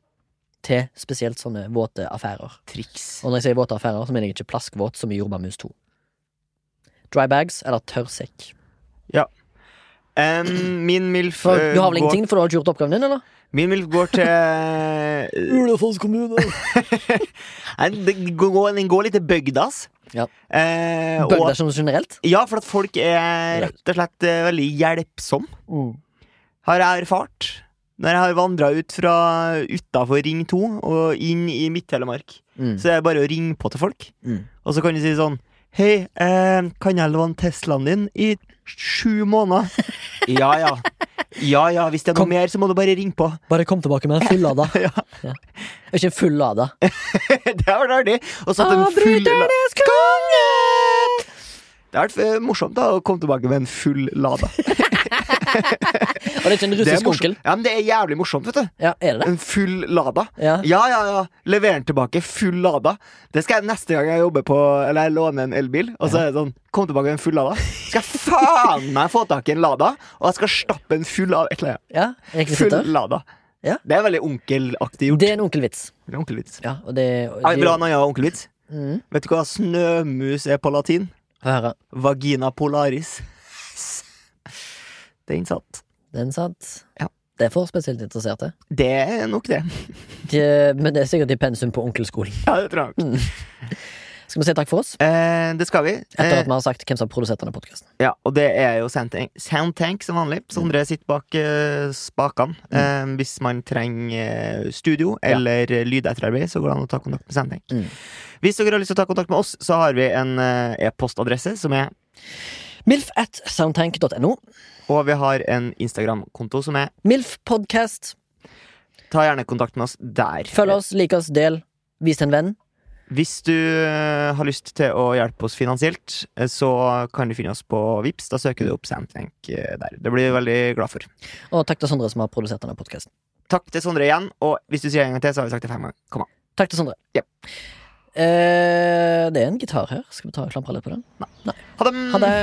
A: Til spesielt sånne våte affærer.
B: triks.
A: Og når jeg sier våte affærer, så mener jeg ikke plaskvåt som i Jordbærmus 2. Drybags eller tørr sekk.
B: Em, min MILF
A: For
B: eh,
A: Du har vel
B: går-
A: ingenting, for du har ikke gjort oppgaven din, eller?
B: Min MILF går til
A: Ulefolds kommune!
B: Nei, det går- Den går litt til bygdas.
A: Ja.
B: Eh, og-
A: Bøgda som generelt?
B: ja, for at folk er rett og slett eh, veldig hjelpsomme, har jeg erfart. Når jeg har vandra ut fra utafor Ring 2 og inn i Midt-Telemark,
A: Mm.
B: så er det bare å ringe på til folk.
A: Mm.
B: Og så kan du si sånn Hei, eh, kan jeg låne Teslaen din i sju måneder? ja, ja. Ja, ja, hvis det er noe
A: Kom.
B: mer, så må du bare ringe på.
A: Bare kom tilbake med en full lada.
B: Ja.
A: Ja. Ikke en full lada.
B: Det har vært artig. Og satt en full la-
A: Avbryternes konge!
B: Det har vært eh, morsomt da å komme tilbake med en full lada.
A: Og det er ikke en
B: Det er
A: russisk onkel?
B: morsomt. Ja, men det er jævlig morsomt, vet du.
A: Ja, er det det?
B: En full lada.
A: Ja.
B: Ja, ja, ja. Lever den tilbake full lada. Det skal jeg neste gang jeg jobber på Eller jeg låner en elbil. Og så er det sånn Kom tilbake med en full lada. Skal jeg faen meg få tak i en lada, og jeg skal stappe en full av et eller annet.
A: ja
B: Full
A: Rekvisitter?
B: lada.
A: Ja.
B: Det er veldig onkelaktig gjort.
A: Det er en onkelvits.
B: Onkelvits.
A: Ja, og det og
B: Ja,
A: de-
B: Vil du ha en annen onkelvits?
A: Mm.
B: Vet du hva snømus er på latin?
A: Få høre.
B: Vagina polaris. Den satt.
A: Den satt.
B: Ja.
A: Det er for spesielt interesserte.
B: Det er nok det.
A: De, men det er sikkert i pensum på onkelskolen.
B: Ja, det tror jeg.
A: Mm.
B: nok.
A: Skal vi si takk for oss?
B: Eh, det skal vi.
A: Etter at
B: Eh,
A: vi har sagt hvem som har produsert denne podkasten.
B: ja, og det er jo Soundtank, Soundtank som vanlig.
A: Mm.
B: Sondre sitter bak eh, spakene. Eh, hvis man trenger eh, studio
A: Ja.
B: eller eh, lydetterarbeid, så går det an å ta kontakt med Soundtank.
A: Mm.
B: Hvis dere har lyst til å ta kontakt med oss, så har vi en eh, e-postadresse som er
A: Milf at soundtank.no.
B: Og vi har en Instagram-konto som er
A: Milf podcast.
B: Ta gjerne kontakt med oss der.
A: Følg oss, lik oss, del. Vis til en venn.
B: Hvis du eh, har lyst til å hjelpe oss finansielt, eh, så kan du finne oss på Vips. Da søker du opp Soundtank eh, der. Det blir vi veldig glad for.
A: Og takk til Sondre som har produsert denne podkasten.
B: Takk til Sondre igjen, og hvis du sier det en gang til, så har vi sagt det fem ganger. Kom an.
A: Takk til Sondre.
B: Ja.
A: Eh, det er en gitar her. Skal vi ta og klampre litt på den?
B: Ha det!
A: Ha det.